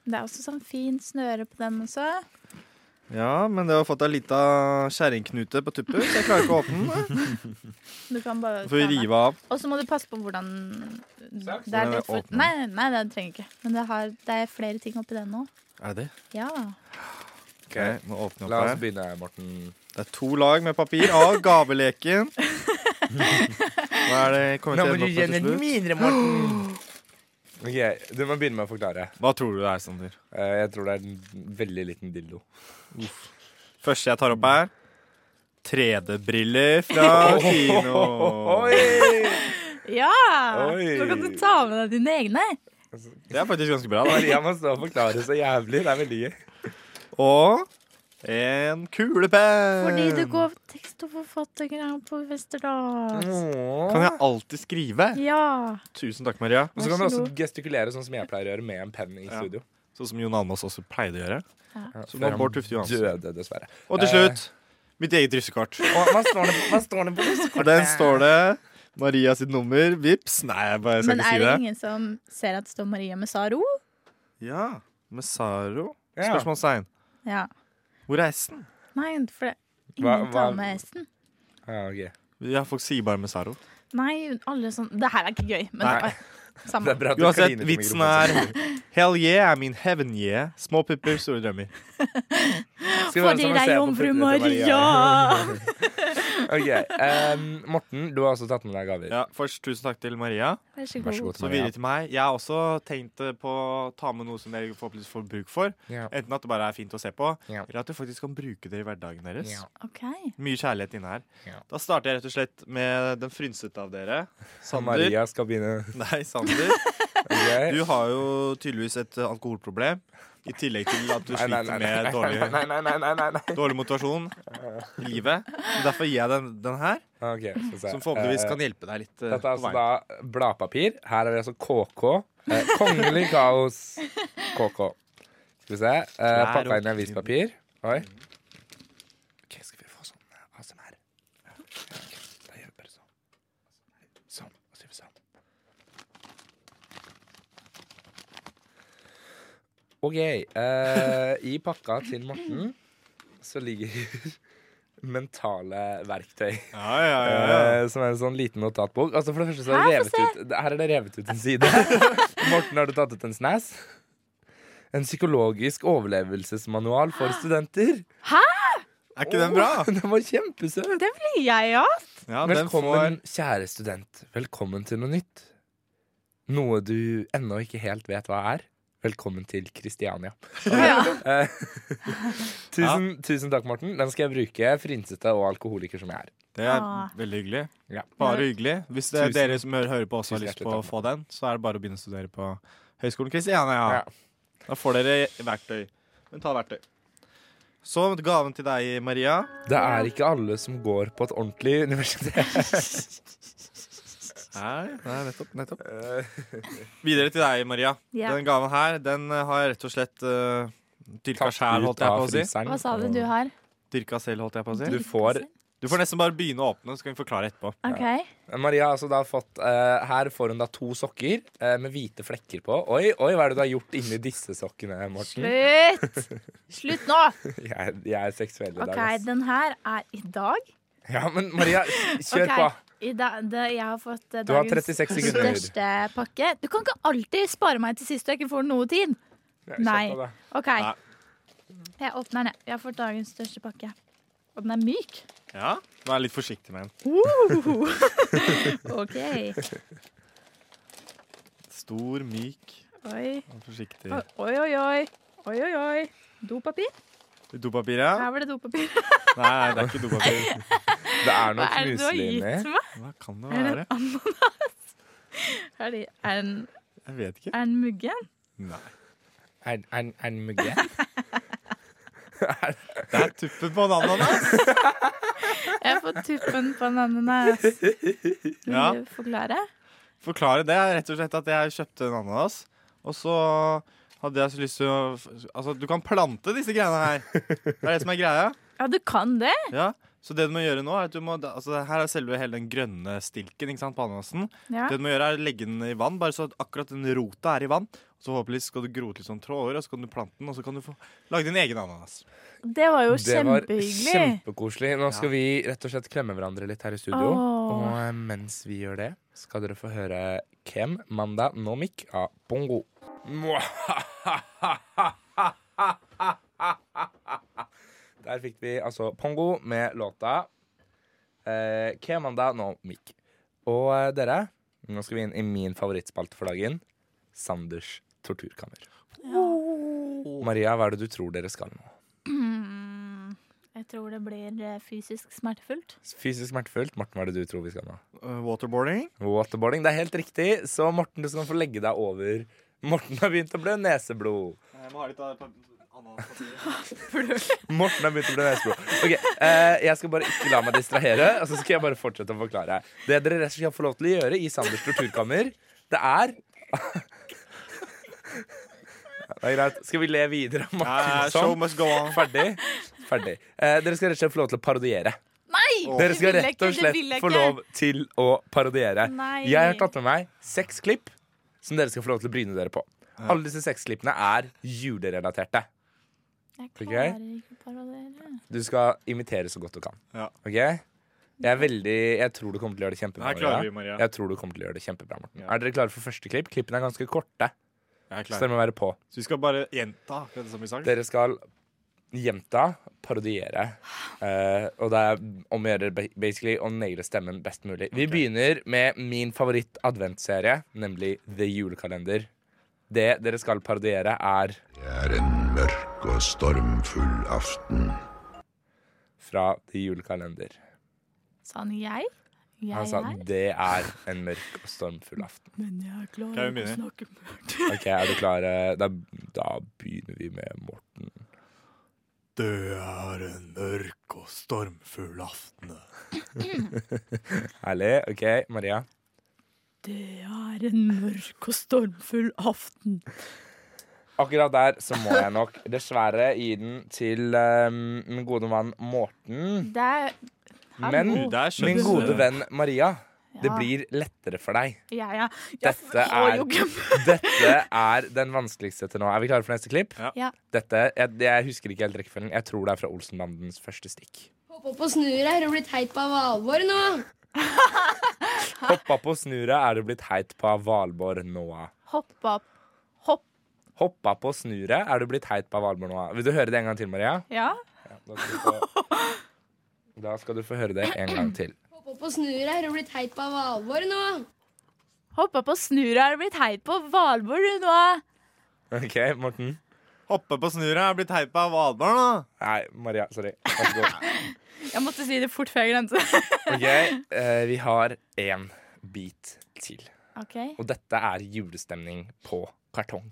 S6: Det er også sånn fint snøre på den også.
S5: Ja, men det har fått ei lita kjerringknute på tuppen, så jeg klarer ikke å åpne den. eh.
S6: Du kan bare
S5: Får
S6: ta den.
S5: rive av.
S6: Og så må du passe på hvordan
S4: Saks?
S6: det er
S5: Den er
S6: litt for...
S5: åpen.
S6: Nei, nei, det trenger ikke. Men det, har, det er flere ting oppi den nå.
S5: Er det det?
S6: Ja.
S5: Ok, nå
S4: La
S5: åpner jeg
S4: oss
S5: opp her.
S4: begynne, Morten.
S5: Det er to lag med papir av [LAUGHS] gaveleken. Hva er det kommet til å ende opp med til slutt?
S4: mindre, Morten. Ok, Du må begynne med å forklare.
S5: Hva tror du det er, Sander?
S4: Eh, Jeg tror det er en veldig liten dildo.
S5: Første jeg tar opp her 3D-briller fra [LAUGHS] kino.
S4: Oi!
S6: Ja!
S4: Oi.
S6: Nå kan du ta med deg dine egne.
S5: Det er faktisk ganske bra. da
S4: Maria må stå og forklare så jævlig. Det er veldig gøy.
S5: Og en kulepenn.
S6: Fordi du går tekst- og forfattergram på
S4: Mm.
S6: Westerdals.
S5: Kan jeg alltid skrive?
S6: Ja.
S5: Tusen takk, Maria.
S4: Og så kan du
S6: Vær så
S4: også
S6: god.
S4: gestikulere sånn som jeg pleier å gjøre med en penn i
S5: Ja.
S4: studio.
S5: Sånn som Jon Almaas også pleide å gjøre.
S4: Før
S5: Som var Bård Tufte
S4: han
S5: Johansen.
S4: døde, dessverre.
S5: Og til slutt mitt eget russekort.
S4: Og hva står det, hva står det på
S5: Og
S4: russekortet?
S5: den står det Maria sitt nummer. Vips. Nei, jeg bare skal
S6: Men er det
S5: ikke si det.
S6: ingen som ser at det står Maria med Saro?
S5: Ja. Med Saro?
S4: Ja.
S5: Spørsmålstegn.
S6: Ja.
S5: Hvor er S-en?
S6: Nei, for det
S4: Hva-
S6: ingen
S4: hva-
S6: tar med hesten.
S4: Ja, ok.
S5: Ja, folk sier bare med Saro.
S6: Nei, alle sånn Det her er ikke gøy, men
S5: Nei.
S4: Det
S6: samme.
S4: er bra at du
S5: Uansett,
S4: kliner til
S5: vitsen
S4: mikrofonen.
S5: er Hell yeah, I mean heaven yeah. Små pupper, store drømmer.
S4: Skal vi
S6: Få
S4: være sånn
S6: til
S4: som å
S6: deg,
S4: se på
S6: jomfru
S4: fruktene til
S6: Maria.
S4: [LAUGHS] ok, em, Morten, du har også tatt med deg gaver.
S5: Ja, først tusen takk til Maria.
S6: Vær så god.
S4: Vær så god
S5: Så
S4: til
S5: videre
S4: Maria.
S5: til meg. Jeg har også tenkt eh, på å ta med noe som dere forhåpentligvis får bruk for.
S4: Ja.
S5: Enten at det bare er fint å se på,
S4: Ja.
S5: eller at du faktisk kan bruke det i hverdagen deres.
S4: Ja.
S6: OK.
S5: Mye kjærlighet inne her.
S4: Ja.
S5: Da starter jeg rett og slett med den frynsete av dere. Sander.
S4: Maria skal begynne.
S5: Nei, Sander.
S4: Ok.
S5: Du har jo tydeligvis et eh, alkoholproblem. I tillegg til at du
S4: Nei, nei,
S5: sliter
S4: nei,
S5: med
S4: nei,
S5: dårlig,
S4: Nei, nei, nei, nei, nei, nei.
S5: dårlig motivasjon i livet. Så Derfor gir jeg den, den her,
S4: Ok, skal vi se.
S5: som forhåpentligvis
S4: Eh,
S5: kan hjelpe deg litt. eh,
S4: Dette er
S5: på
S4: altså
S5: veien.
S4: da bladpapir. Her er det altså KK. Eh, kongelig kaos KK. Skal vi se. Eh,
S5: Klær og
S4: pakka inn i avispapir. Oi. OK, skal vi få sånn eh, ASMR? Ja, ok. Da gjør vi bare sånn. Sånn. Og så gjør vi sånn. OK. Eh, I pakka til Morten så ligger [LAUGHS] mentale verktøy.
S5: Ja, ja, ja, ja.
S4: Eh, som er en sånn liten notatbok. Altså for det første så er det
S6: Her, få
S4: revet ut Her er det revet ut en side. [LAUGHS] Morten, har du tatt ut en snas? En psykologisk overlevelsesmanual
S6: Ah.
S4: for studenter.
S5: Er ikke den bra?
S4: Den var kjempesøt!
S6: Det blir jeg, ja.
S5: Ja, den får
S4: Velkommen, kjære student. Velkommen til noe nytt. Noe du ennå ikke helt vet hva er. Velkommen til Kristiania. Eh, [LAUGHS] tusen, tusen takk, Morten. Den skal jeg bruke, frynsete og alkoholiker som jeg er.
S5: Det er
S6: Ah.
S5: veldig hyggelig.
S4: Ja.
S5: Bare hyggelig. Hvis det er
S4: Tusen-
S5: dere som hører, hører på også har
S4: Tusen
S5: lyst på
S4: hjertelig
S5: å få den, så er det bare å begynne å studere på Høgskolen Kristiania.
S4: Ja.
S5: Da får dere verktøy. Men ta verktøy. Så gaven til deg, Maria.
S4: Det er ikke alle som går på et ordentlig universitet.
S5: Nei, nettopp, Videre til deg, Maria.
S6: [LAUGHS] Ja.
S5: Den gaven her, den eh, har jeg rett og slett uh, dyrka
S4: Tatt
S5: sjæl,
S4: ut
S5: holdt jeg
S4: av
S5: på å si.
S4: fryseren,
S6: Hva sa du
S4: og-
S6: du har?
S5: Dyrka selv, holdt jeg på å si.
S4: Du får
S5: Du får nesten bare begynne å åpne, så kan vi forklare etterpå.
S6: OK.
S4: Maria har altså da fått eh, Her får hun da to sokker eh, med hvite flekker på. Oi, oi, hva er det du har gjort inni disse sokkene, Morten? [LAUGHS]
S6: Slutt! Slutt nå!
S4: Jeg, jeg er seksuell i
S6: OK,
S4: dag, ass.
S6: den her er i dag.
S4: Ja, men Maria, kjør
S6: Ok,
S4: på.
S6: I da, det, jeg har fått eh,
S4: Du har
S6: dagens
S4: 36 sekunder.
S6: største pakke. Du kan ikke alltid spare meg til sist og jeg ikke får noe tid.
S4: Kjør
S6: Nei.
S4: på, da.
S6: OK.
S5: Nei.
S6: Jeg åpner den. jeg. Jeg har fått dagens største pakke. Og den er myk.
S5: Ja, Vær litt forsiktig med den.
S6: Woo!
S4: [LAUGHS]
S6: OK.
S5: Stor, myk,
S6: Oi.
S5: og forsiktig.
S6: Oi, oi, oi. Oi, oi, oi. Dopapir?
S5: Dopapir, ja?
S6: Her var det dopapir.
S5: Nei, nei, det er ikke dopapir.
S4: Det er
S6: Hva er det du
S4: noe
S6: har
S4: knuselig
S6: gitt
S4: inni.
S6: meg?
S5: Hva kan det
S6: Er det
S5: være?
S6: en ananas? Er det er den,
S5: Jeg vet ikke.
S6: er den muggen?
S5: Nei.
S4: Er er- er den mugge?
S5: Det er tuppen på en ananas.
S6: Jeg får tuppen på en
S4: [LAUGHS]
S6: ananas. Vil
S5: Ja.
S6: du forklare?
S5: Forklare det er rett og slett at jeg kjøpte en ananas, og så hadde jeg så lyst til å Altså, du kan plante disse greiene her. Det er det som er greia.
S6: Ja, du kan det.
S5: Ja. Så det du må gjøre nå, er at du må Altså, her er selve hele den grønne stilken ikke sant, på ananasen.
S6: Ja.
S5: Det du må gjøre, er å legge den i vann, bare så at akkurat den rota er i vann. Så håpeligvis skal du gro ut litt sånn tråder, og så kan du plante den, og så kan du få lage din egen ananas.
S6: Det var jo
S4: Det var
S6: kjempehyggelig.
S4: kjempekoselig. Nå skal vi rett og slett klemme hverandre litt her i studio.
S6: Åh.
S4: Og eh, mens vi gjør det, skal dere få høre Kem Manda Nomik av Bongo. [LAUGHS] Der fikk vi altså Pongo med låta eh, Kemanda Nomik. Og eh, dere, nå skal vi inn i min favorittspalte for dagen. Sanders torturkammer. Maria, hva er det du tror dere skal nå?
S6: Mm, Jeg tror det blir eh, fysisk smertefullt.
S4: Fysisk smertefullt. Morten, hva er det du tror vi skal nå?
S5: Uh, Waterboarding.
S4: Eh, Waterboarding, det er helt riktig. Så Morten, du skal få legge deg over. Morten har begynt å blø neseblod.
S5: Jeg må ha litt av ananaspapir.
S4: Morten har begynt å blø neseblod. Ok, eh, Jeg skal bare ikke la meg distrahere, og så skal jeg bare fortsette å forklare. Det dere rett og slett får lov til å gjøre i Sanders torturkammer, det er Det er greit. Skal vi le videre av Morten
S5: show
S4: sånn?
S5: must go on.
S4: Ferdig? Ferdig. Eh, dere skal rett og slett få lov til å parodiere.
S6: Nei!
S4: Dere skal
S6: Det vil jeg
S4: rett og
S6: ikke, det vil
S4: slett
S6: jeg
S4: få
S6: ikke.
S4: lov til å parodiere.
S6: Nei.
S4: Eh, Jeg har tatt med meg seks klipp som dere skal få lov til å bryne dere på. Alle disse seks klippene er julerelaterte.
S6: Jeg
S4: Ok.
S6: klarer ikke å parodiere.
S4: Du skal imitere så godt du kan.
S5: Ja.
S4: Ok? Jeg er veldig Jeg tror du kommer til å gjøre det kjempebra.
S5: Her klarer vi,
S4: Maria.
S5: Maria.
S4: Jeg tror du kommer til å gjøre det kjempebra, Morten.
S5: Ja.
S4: Er dere klare for første klipp? Klippene er ganske korte,
S5: Jeg er
S4: så
S5: klar.
S4: dere må være på.
S5: Så vi skal bare gjenta akkurat det som vi sang.
S4: Dere skal jenta parodiere. Eh, og det er om å gjøre ba- basically å naile stemmen best mulig. Vi begynner med min favoritt-adventserie, nemlig The Julekalender. Det dere skal parodiere, er
S10: er en mørk og stormfull aften.
S4: fra The Julekalender.
S6: Sa han jeg? Jeg
S4: Han sa
S6: her?
S4: det er en mørk og stormfull aften.
S6: Men jeg
S5: Kan
S6: klarer ikke
S5: jeg
S6: å
S5: begynne?
S6: snakke mørkt.
S4: Ok, Er du klar? eh, Da, da begynner vi med Morten.
S8: Det er en mørk og stormfull aften.
S4: [LAUGHS] Herlig. OK, Maria.
S6: Det er en mørk og stormfull aften.
S4: Akkurat der så må jeg nok dessverre gi den til eh, min gode mann Morten.
S6: Det er Han
S4: Men
S6: god.
S4: Mm.
S5: Der
S4: Min
S5: skjønner du.
S4: gode venn Maria, det
S6: Ja.
S4: blir lettere for deg.
S6: Ja, ja. Jeg
S4: Dette
S6: får
S4: er,
S6: jo ikke-
S4: dette er den vanskeligste til nå. Er vi klare for neste klipp?
S5: Ja.
S6: Ja.
S4: Dette, jeg, jeg husker ikke helt rekkefølgen. Jeg tror det er fra Olsenbandens første stikk.
S11: Hopp opp og snu deg, har du blitt heit på alvor nå?
S4: Hoppa på snura er du blitt heit på av Valborg Noah.
S6: Hopp opp. Hopp.
S4: Hoppa på snura er du blitt heit på av Valborg Noah. Vil du høre det en gang til, Maria?
S6: Ja.
S4: Da skal du få, da skal du få høre det en gang til.
S11: Hopp opp og snu deg, har du blitt heit på alvor nå?
S6: Hoppa på snura er du blitt heit på Valborg du nå.
S4: OK, Morten?
S5: Hoppe på snura er blitt heipa av Valborg, da.
S4: Nei, Maria. Sorry. Vær så god.
S6: Jeg måtte si det fort før jeg glemte det.
S4: Ok, eh, vi har en bit til.
S6: OK.
S4: Og dette er julestemning på kartong.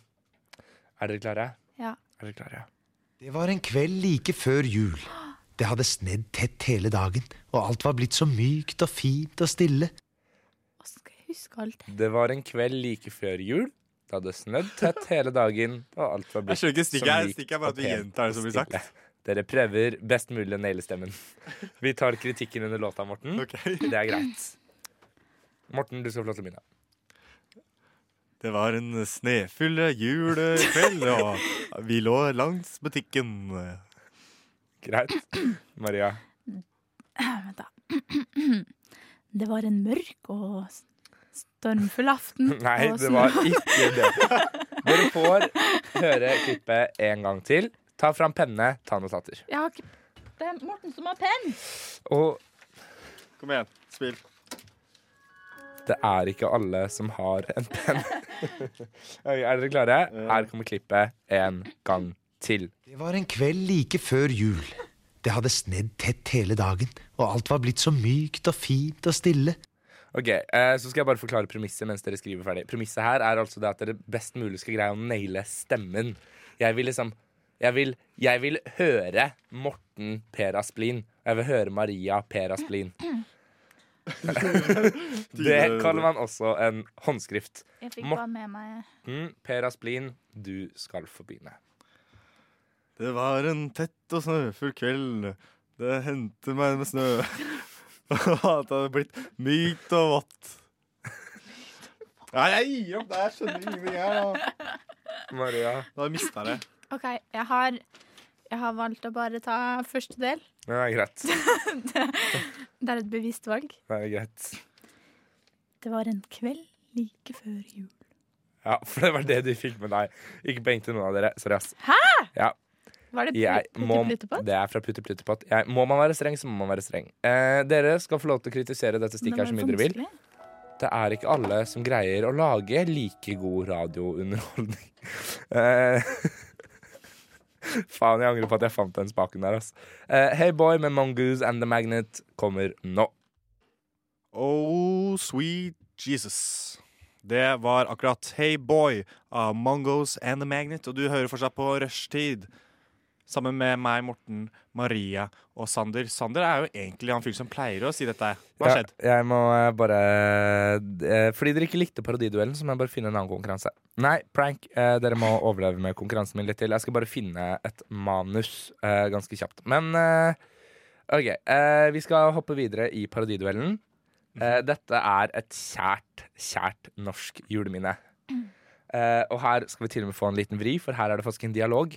S4: Er dere klare?
S6: Ja.
S4: Er dere klare?
S10: Det var en kveld like før jul. Det hadde snedd tett hele dagen, og alt var blitt så mykt og fint og stille.
S6: Åssen skal jeg huske alt det?
S4: Det var en kveld like før jul. Det hadde snødd tett hele dagen, og alt var
S5: Jeg
S4: blitt
S5: skjønner
S4: som
S5: ikke stikket her.
S4: likt
S5: Stikket er bare
S4: og
S5: at vi
S4: pent
S5: gjentar det som
S4: og
S5: blir sagt. [LAUGHS]
S4: stille. Dere prøver best mulig å naile stemmen. Vi tar kritikken under låta, Morten. Det er greit. Morten, du skal få lov til å begynne.
S5: Det var en snefull julekveld, og vi lå langs butikken.
S4: Greit. Maria.
S6: Vent, da. Det var en mørk og s- stormfull aften.
S4: [LAUGHS] Nei,
S6: og
S4: det
S6: snø.
S4: var ikke det. Dere får høre klippet en gang til. Ta fram penne, ta notater.
S6: Jeg har ikke Det er Morten som har penn!
S4: Og
S5: Kom igjen, spill.
S4: det er ikke alle som har en [LAUGHS] penn. Ok, Er dere klare? Her kommer klippet en gang til.
S10: Det var en kveld like før jul. Det hadde snedd tett hele dagen, og alt var blitt så mykt og fint og stille.
S4: Ok, eh, Så skal jeg bare forklare premisset mens dere skriver ferdig. Premisset her er altså det at dere best mulig skal greie å naile stemmen. Jeg vil liksom Jeg vil, jeg vil høre Morten Per Asplin. Og jeg vil høre Maria Per Asplin. det kaller man også en håndskrift.
S6: Jeg fikk
S4: Mor-
S6: bare med meg
S4: Mm, per Asplin, du skal få begynne.
S5: Det var en tett og snøfull kveld. Det hendte meg med snø. [LAUGHS] Og at det hadde blitt mykt og vått. [LAUGHS] Nei, jeg gir opp. Jeg skjønner ingenting her. Da,
S4: Maria.
S5: da mista jeg det.
S6: OK, jeg har, jeg har valgt å bare ta første del.
S4: Det er greit.
S6: Det er et bevisst valg.
S4: Det er greit.
S6: Det var en kveld like før jul.
S4: Ja, For det var det du fikk med deg. Ikke poeng til noen av dere. Sorry, ass.
S6: Var det
S4: jeg
S6: putte,
S4: må,
S6: putte, putte på?
S4: Det er fra Putte Plutte Pott. Jeg, må man være streng, så må man være streng. Eh, dere skal få lov til å kritisere dette
S6: Men sånn
S4: stikket her så mye dere vil.
S6: vanskelig.
S4: Det er ikke alle som greier å lage like god radiounderholdning. [LAUGHS] Eh, [LAUGHS] Faen, jeg angrer på at jeg fant den spaken der, ass. Eh, hey Boy med Mongoose and The Magnet kommer nå.
S5: Oh, sweet Jesus. Det var akkurat Hey Boy av Mongos and The Magnet, og du hører fortsatt på Rushtid. Sammen med meg, Morten, Maria og Sander. Sander er jo egentlig han fyren som pleier å si dette. Hva har skjedd?
S4: Ja, jeg må eh, bare eh, Fordi dere ikke likte parodiduellen, så må jeg bare finne en annen konkurranse. Nei, prank. Eh, dere må overleve med konkurransen min litt til. Jeg skal bare finne et manus eh, ganske kjapt. Men eh, OK. Eh, vi skal hoppe videre i parodiduellen. Eh, dette er et kjært, kjært norsk juleminne. Eh, og her skal vi til og med få en liten vri, for her er det faktisk en dialog.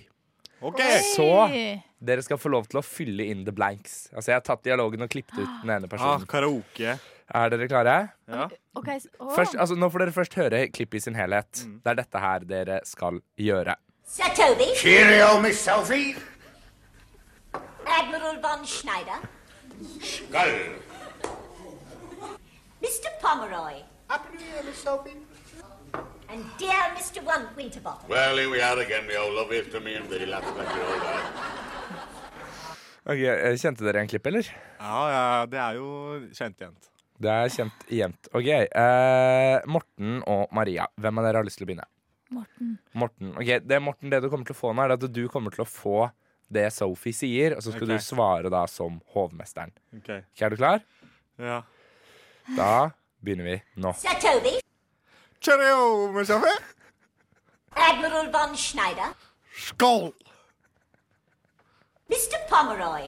S5: OK!
S4: Så
S6: Hey.
S4: dere skal få lov til å fylle inn the blanks. Altså, jeg har tatt dialogen og klippet ut den ene
S5: Ah,
S4: personen.
S5: karaoke.
S4: Er dere klare?
S5: Ja.
S6: OK, s- å.
S4: Først, altså, nå får dere først høre klippet i sin helhet. Det er dette her dere skal gjøre.
S11: Sir Toby.
S10: Cheerio, Miss Sophie!
S12: Admiral von Schneider,
S13: Gull.
S12: Mr. Pomeroy. And dear Mr. One Winterbottom.
S13: Well, here we are again, we all love it to me and the lads back here all right.
S4: Ok, eh, Kjente dere igjen klippet, eller?
S5: Ja, ja, det er jo kjent igjen.
S4: Det er kjent jevnt. Ok. eh, Morten og Maria, hvem av dere har lyst til å begynne?
S6: Morten.
S4: Morten, ok, det, Morten, det du kommer til å få nå, er at du kommer til å få det Sophie sier, og så skal
S5: Ok.
S4: du svare da som hovmesteren.
S5: Ok.
S4: Ok, Er du klar?
S5: Ja.
S4: Da begynner vi nå.
S12: Sir Toby,
S5: Cheerio, med kaffe.
S12: Admiral von Schneider,
S5: Skål!
S12: Mr. Pomeroy.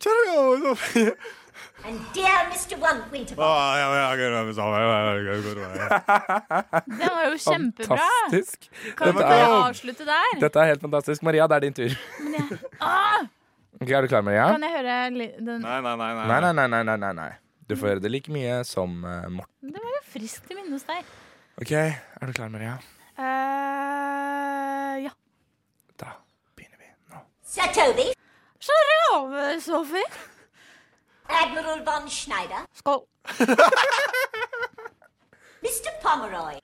S5: Cheerio, med kaffe.
S12: And dear Mr. One Winterbottom.
S5: Ah, ja, ja, ja, ja,
S6: Det var jo kjempebra.
S4: Fantastisk.
S6: Kan
S4: Dette
S6: vi ikke
S4: er-
S6: avslutte der?
S4: Dette er helt fantastisk. Maria, det er din tur.
S6: Men jeg, ah,
S4: Ok, Er du klar, Maria?
S6: kan jeg høre li- den
S5: Nei, nei, nei.
S4: Nei, nei, nei, nei, nei, nei, nei. Du får høre det like mye som eh, Morten.
S6: Det var jo friskt i minne hos deg.
S4: Ok, er du klar, Maria?
S6: eh ja.
S12: Sir Toby,
S6: Sjarov, Sophie.
S12: Admiral von Schneider,
S6: Skål.
S12: Mr. Pomeroy.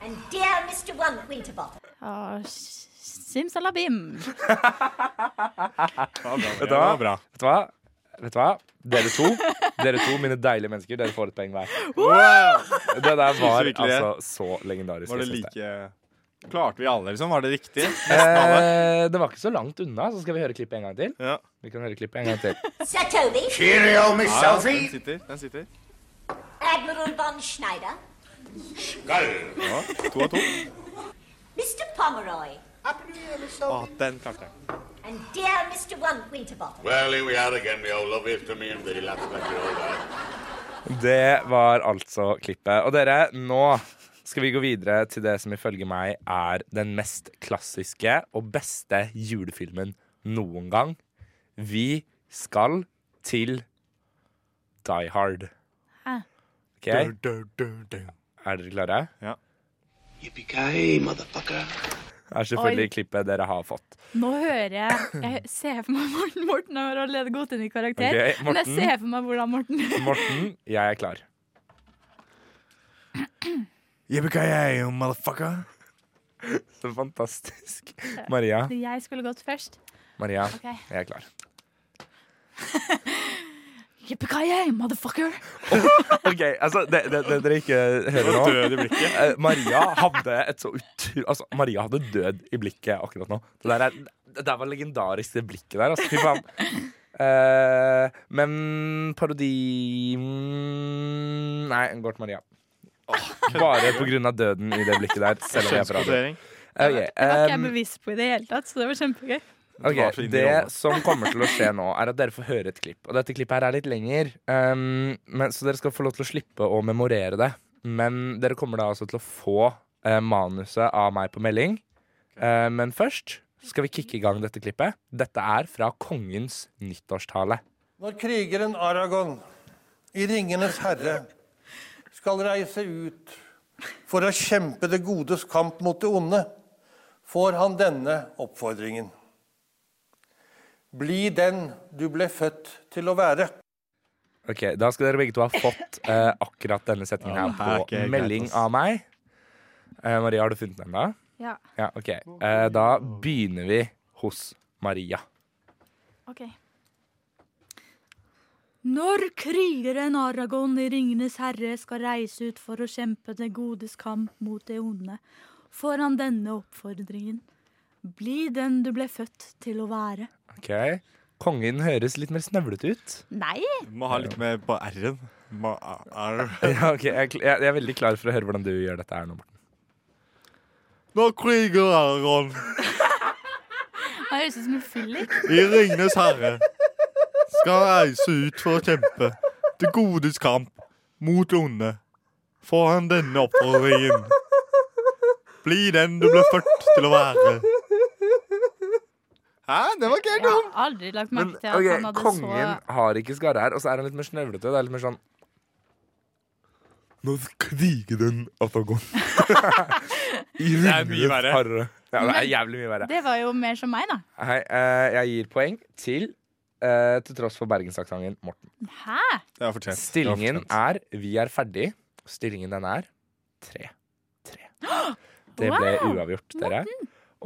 S12: And dear Mr. One Winterbottom.
S6: Ja, s- Simsalabim.
S4: Vet du hva? Vet du hva? Vet du hva? Dere to, dere to, mine deilige mennesker, dere får et poeng hver. Det der
S5: Synes
S4: var
S5: du virkelig det?
S4: altså så legendarisk.
S5: Var det
S4: jeg synes
S5: like Klarte vi alle, liksom? Var det
S4: [LAUGHS]
S5: riktig?
S4: det.
S5: Nesten alle.
S4: Eh, det var ikke så langt unna, så skal vi høre klippet en gang til. Vi kan høre klippet en gang til.
S12: Sir Toby.
S5: Ja, ja, Den sitter. Den sitter.
S12: Admiral von Schneider,
S5: Ja, to av to.
S12: Mr. Pomeroy.
S5: [LAUGHS] Å, den klarte jeg.
S12: And dear Mr. One Winterbottom.
S13: Well, here we are again, we all love it to me and the lads back here all right.
S4: Det var altså klippet. Og dere, nå skal vi gå videre til det som ifølge meg er den mest klassiske og beste julefilmen noen gang. Vi skal til Die Hard.
S6: Hæ?
S4: Ok? Er dere klare? Ja.
S14: Yippee-ki-yay, motherfucker.
S4: Er selvfølgelig
S6: Oi.
S4: klippet dere har fått.
S6: Nå hører jeg Jeg ser for meg Morten Morten har allerede gått inn i karakter.
S4: Ok,
S6: men jeg
S4: Morten.
S6: ser for meg hvordan Morten
S4: Morten, jeg er klar.
S5: Yippee-ki-yay, motherfucker.
S4: [LAUGHS] Så fantastisk. Maria,
S6: Jeg skulle gått først.
S4: Maria,
S6: Ok.
S4: jeg er klar.
S6: Yippee-ki-yay, motherfucker!
S4: OK, altså, det, det, det dere ikke hører nå
S5: Død i blikket.
S4: Eh, Maria hadde et så utro... Altså, Maria hadde død i blikket akkurat nå. Det der, er, det der var legendarisk, det blikket der. Altså, fy faen. Eh, men parodi mm, Nei, den går til Maria. Bare på grunn av døden i det blikket der. Selv om jeg er på radio.
S5: Kjønnskvotering.
S4: Ok,
S6: Det var ikke jeg
S4: em,
S6: bevisst på i det hele tatt, så det var kjempegøy.
S4: Ok,
S5: var så inne i
S4: Det
S5: rollen.
S4: som kommer til å skje nå, er at dere får høre et klipp. Og dette klippet her er litt lenger, ehm, men, så dere skal få lov til å slippe å memorere det. Men dere kommer da altså til å få eh, manuset av meg på melding. Eh, men først skal vi kicke i gang dette klippet. Dette er fra kongens nyttårstale.
S15: Når krigeren Aragon i Ringenes herre skal reise ut for å kjempe det godes kamp mot det onde, får han denne oppfordringen. Bli den du ble født til å være.
S4: Ok, Da skal dere begge to ha fått eh, akkurat denne setningen
S15: Ja,
S4: her
S15: det
S4: på
S15: her er ikke greit,
S4: melding
S15: ass.
S4: av meg. Eh, Maria, har du funnet den da?
S6: Ja.
S4: Ja, ok. Eh, da begynner vi hos Maria.
S6: Ok. Når krigeren Aragon i Ringenes herre skal reise ut for å kjempe det godes kamp mot det onde, får han denne oppfordringen. Bli den du ble født til å være.
S4: Ok. Kongen høres litt mer snøvlete ut.
S6: Nei!
S5: Må ha litt mer på r-en. Ma- r.
S4: [LAUGHS] Ja, ok, jeg, er kl- jeg jeg er veldig klar for å høre hvordan du gjør dette her nå, Morten.
S5: Nå kriger Aragon
S6: Han høres ut som en fyllik.
S5: i Ringenes herre skal reise ut for å kjempe det godes kamp mot det onde, får han denne oppfordringen. Bli den du ble født til å være. Hæ? Det var ikke helt dumt.
S6: Jeg har aldri lagt
S4: Men
S6: merke til at han
S4: ok,
S6: hadde
S4: kongen har ikke skarre her, og så er han litt mer snøvlete. Det er litt mer sånn Nå kriger den Atagon. I [LAUGHS]
S5: Det er mye verre.
S4: Ringenes herre Ja, det er jævlig mye verre.
S6: Det var jo mer som meg, da.
S4: Hei, eh, jeg gir poeng til eh, til tross for bergensaksenten Morten.
S6: Hæ?
S4: Stillingen er Vi er ferdig. Stillingen den er tre. Tre. Det ble
S6: Wow!
S4: uavgjort, dere.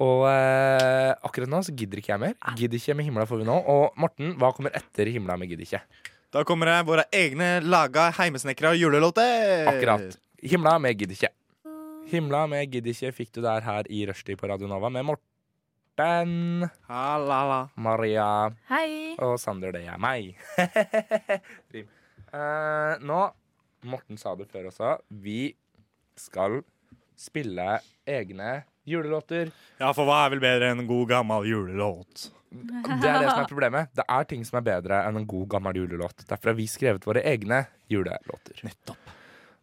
S4: Og eh, akkurat nå så gidder ikke jeg mer. Gidder ikke med himla får vi nå. Og Morten, hva kommer etter himla med gidder ikke?
S5: Da kommer det våre egne laga heimesnekra julelåter.
S4: Akkurat. Himla med gidder ikke. Himla med gidder ikke fikk du der her i rushtid på Radio Nova med Morten. Maria.
S6: Hei.
S4: Og Sander, det er meg. [LAUGHS] Rim. Eh, nå Morten sa det før også. Vi skal spille egne julelåter.
S5: Ja, for hva er vel bedre enn en god gammel julelåt?
S4: Det er det som er problemet. Det er ting som er bedre enn en god, gammel julelåt. Derfor har vi skrevet våre egne julelåter.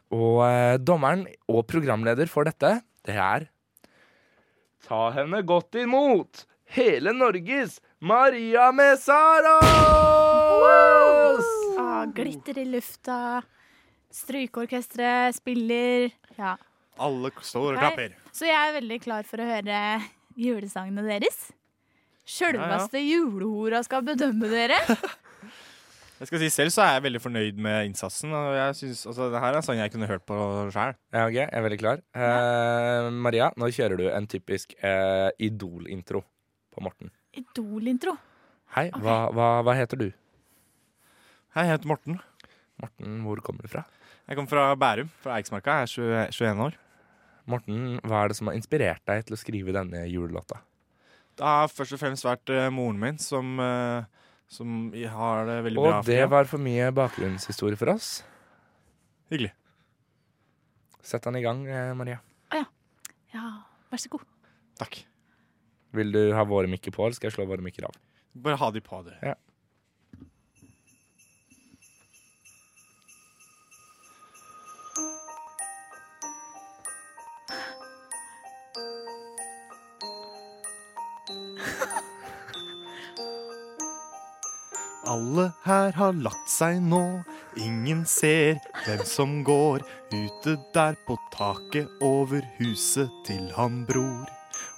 S4: Og eh, dommeren og programleder for dette, det er Ta henne godt imot, hele Norges Maria Mesaros!
S6: Ah, glitter i lufta. Strykeorkesteret spiller. Ja.
S5: Alle står og
S6: Nei,
S5: klapper.
S6: Så jeg er veldig klar for å høre julesangene deres. Sjølveste julehora skal bedømme dere.
S5: Jeg skal si Selv så er jeg veldig fornøyd med innsatsen. Og jeg synes, altså, det her er en sang jeg kunne hørt på sjøl.
S4: Ja, ok, jeg er veldig klar. Eh, Maria, nå kjører du en typisk eh, Idol-intro på Morten.
S6: Idol-intro.
S4: Hei, hva, hva, hva heter du?
S5: Hei, jeg heter Morten.
S4: Morten, hvor kommer du fra?
S5: Jeg kommer fra Bærum, fra Eiksmarka. Jeg er 20 21 år.
S4: Morten, hva er det som har inspirert deg til å skrive denne julelåta?
S5: Det har først og fremst vært eh, moren min som, eh, som i- har det veldig
S4: Og
S5: bra. for
S4: det
S5: tida.
S4: var for mye bakgrunnshistorie for oss.
S5: Hyggelig.
S4: Sett den i gang, eh, Maria.
S6: Ja, vær så god.
S4: Vil du ha våre mikker på, eller skal jeg slå våre mikker av?
S5: Bare ha de på, dere.
S4: Ja.
S5: Alle her har lagt seg nå. Ingen ser hvem som går ute der på taket over huset til han bror.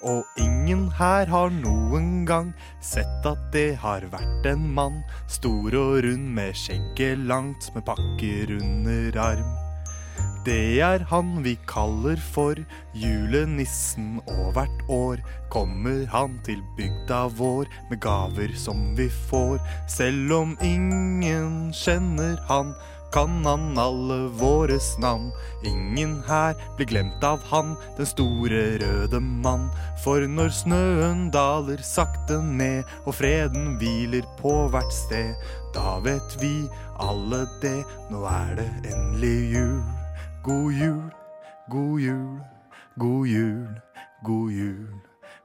S5: Og ingen her har noen gang sett at det har vært en mann. Stor og rund med skjegget langt med pakker under arm. Det er han vi kaller for julenissen, og hvert år kommer han til bygda vår med gaver som vi får. Selv om ingen kjenner han, kan han alle våres navn. Ingen her blir glemt av han, den store røde mann. For når snøen daler sakte ned, og freden hviler på hvert sted, da vet vi alle det, nå er det endelig jul. God jul, god jul, god jul, god jul,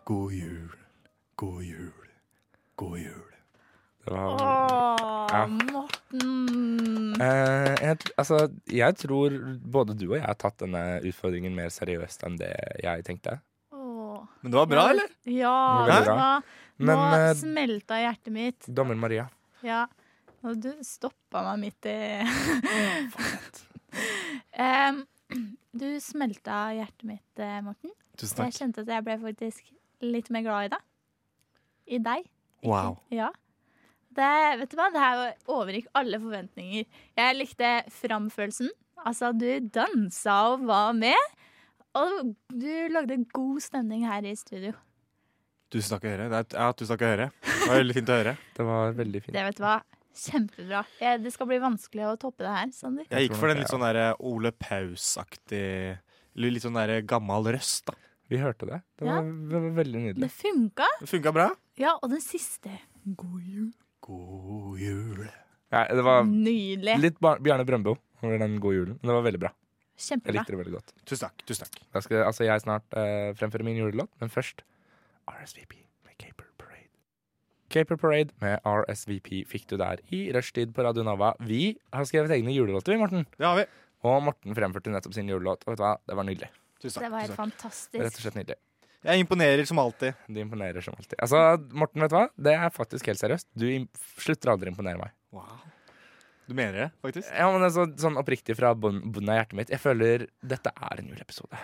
S5: god jul, god jul, god jul.
S4: Det var...
S6: Åh,
S4: Ja.
S6: Morten.
S4: Eh, jeg, altså, jeg tror både du og jeg har tatt denne utfordringen mer seriøst enn det jeg tenkte.
S6: Åh.
S4: Men det var bra, eller?
S6: Ja,
S4: Det var
S6: det
S4: bra.
S6: var Nå
S4: Men, eh,
S6: smelta hjertet mitt.
S4: Dommer Maria.
S6: Ja. Og du stoppa meg midt i [LAUGHS] Em, [CLEARS THROAT] Du smelta hjertet mitt, eh, Morten.
S5: Tusen takk.
S6: Jeg kjente at jeg ble faktisk litt mer glad i deg. I deg.
S5: Wow.
S6: Ja. Det, vet du hva? det her overgikk alle forventninger. Jeg likte framførelsen. Altså, du dansa og var med. Og du lagde god stemning her i studio.
S5: Tusen takk å høre. Det er, ja, tusen takk å høre. Det var veldig fint å høre.
S4: Det var veldig
S6: Det vet du hva, kjempebra. Eh, Det skal bli vanskelig å toppe det her, Sander.
S5: [LAUGHS] Jeg gikk for den litt sånn der Ole Paus-aktig eller Litt sånn der gammel røst, da.
S4: Vi hørte det.
S6: Det var- Ja.
S4: veldig
S6: Det funka.
S5: Det funka bra.
S6: Ja, og den siste.
S5: God jul.
S4: Nei, det var
S6: Nydelig.
S4: litt bar Bjarne Brøndbo over den gode julen. Men det var veldig bra.
S6: Kjempebra.
S4: Jeg likte det veldig godt.
S5: Tusen takk. tusen takk.
S4: Da skal altså, jeg snart eh, fremføre min julelåt, men først RSVP med Caper Parade. Caper Parade med RSVP fikk du der i rushtid på Radio Nova. Vi har skrevet egne julelåter, vi, Morten.
S5: Det har vi.
S4: Og Morten fremførte nettopp sin julelåt, og vet du hva, det var nydelig.
S5: Tusen
S6: Det var helt
S4: Rett og
S6: fantastisk.
S4: slett nydelig.
S5: Jeg imponerer som alltid.
S4: Du imponerer som alltid. Altså, Morten, vet du hva? Det er faktisk helt seriøst. Du im slutter aldri å imponere meg.
S5: Wow. Du mener det, faktisk?
S4: Ja, men altså, sånn oppriktig fra bunn- bunnen av hjertet mitt. Jeg føler dette er en juleepisode.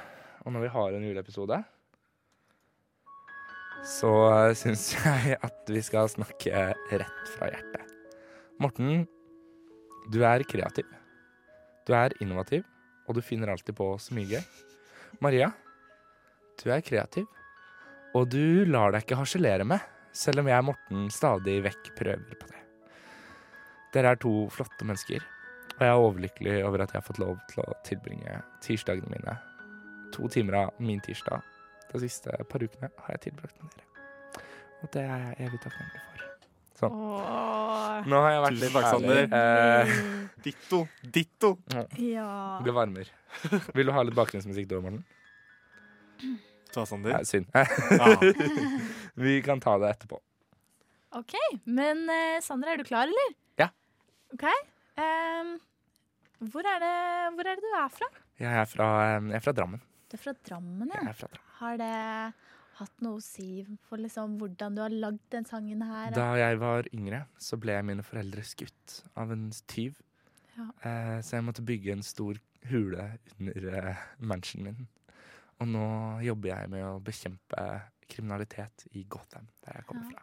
S4: Og når vi har en juleepisode, så uh, syns [LAUGHS] jeg at vi skal snakke rett fra hjertet. Morten, du er kreativ. Du er innovativ, og du finner alltid på så mye gøy. Maria, du er kreativ, og du lar deg ikke harselere med, selv om jeg og Morten stadig vekk prøver på det. Dere er to flotte mennesker, og jeg er overlykkelig over at jeg har fått lov til å tilbringe tirsdagene mine. To timer av min tirsdag de siste par ukene har jeg tilbrakt med dere. Og det er jeg evig takknemlig for. Sånn. Nå har jeg vært
S5: Tusen
S4: litt
S5: takk,
S4: ærlig. Eh,
S5: Sander. Ditto. Ditto.
S6: Ja.
S4: Det varmer. Vil du ha litt bakgrunnsmusikk da, Morten?
S5: Ta Sander.
S4: Nei, synd.
S5: Ja.
S4: [LAUGHS] Vi kan ta det etterpå.
S6: OK. Men eh, Sander, er du klar, eller?
S4: Ja.
S6: OK. Ehm, hvor, er det, hvor er det du er fra?
S4: Jeg er fra, eh, jeg er fra Drammen.
S6: Du er fra Drammen, ja.
S4: Jeg er fra Drammen.
S6: Har det hatt noe å si for liksom hvordan du har lagd den sangen her?
S4: Da jeg var yngre, så ble mine foreldre skutt av en tyv.
S6: Ja.
S4: Eh, så jeg måtte bygge en stor hule under eh, mansionen min. Og nå jobber jeg med å bekjempe kriminalitet i Gotham, der jeg kommer fra.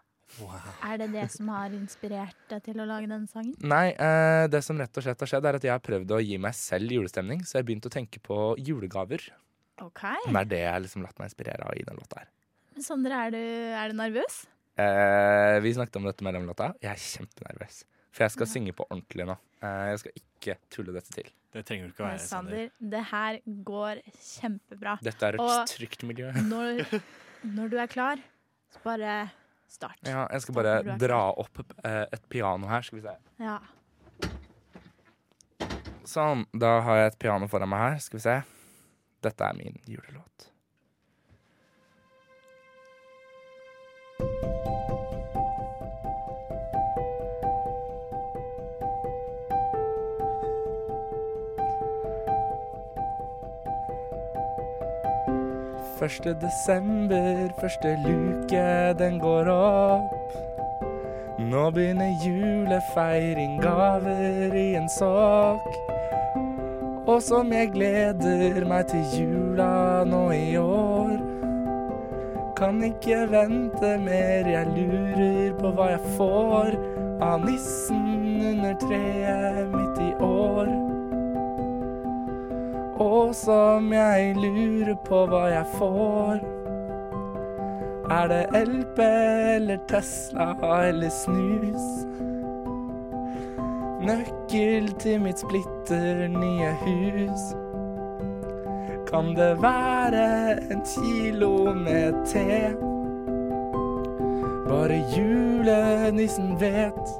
S6: Er det det som har inspirert deg til å lage denne sangen?
S4: Nei, eh, det som rett og slett har skjedd, er at jeg har prøvd å gi meg selv julestemning. Så jeg har begynt å tenke på julegaver.
S6: OK.
S4: Og det er det jeg har liksom latt meg inspirere av i den låta her.
S6: Men Sondre, er du, er du nervøs?
S4: Eh, vi snakket om dette mellom låta. Jeg er kjempenervøs. For jeg skal synge på ordentlig nå. Eh, jeg skal ikke tulle dette til.
S5: Det trenger du
S6: Men Sander, det her går kjempebra.
S4: Dette er et
S6: Og
S4: trygt miljø.
S6: når, når du er klar, så bare start.
S4: Ja, jeg skal
S6: Start
S4: bare
S6: når du er
S4: dra opp eh, et piano her, skal vi se.
S6: klar. Ja.
S4: Sånn, da har jeg et piano foran meg her, skal vi se. Dette er min julelåt. Første desember, første luke, den går opp. Nå begynner julefeiring, gaver i en sokk. Og som jeg gleder meg til jula nå i år. Kan ikke vente mer, jeg lurer på hva jeg får av nissen under treet mitt i år. Og som jeg lurer på hva jeg får. Er det LP eller Tesla eller snus? Nøkkel til mitt splitter nye hus. Kan det være en kilo med te? Bare julenissen vet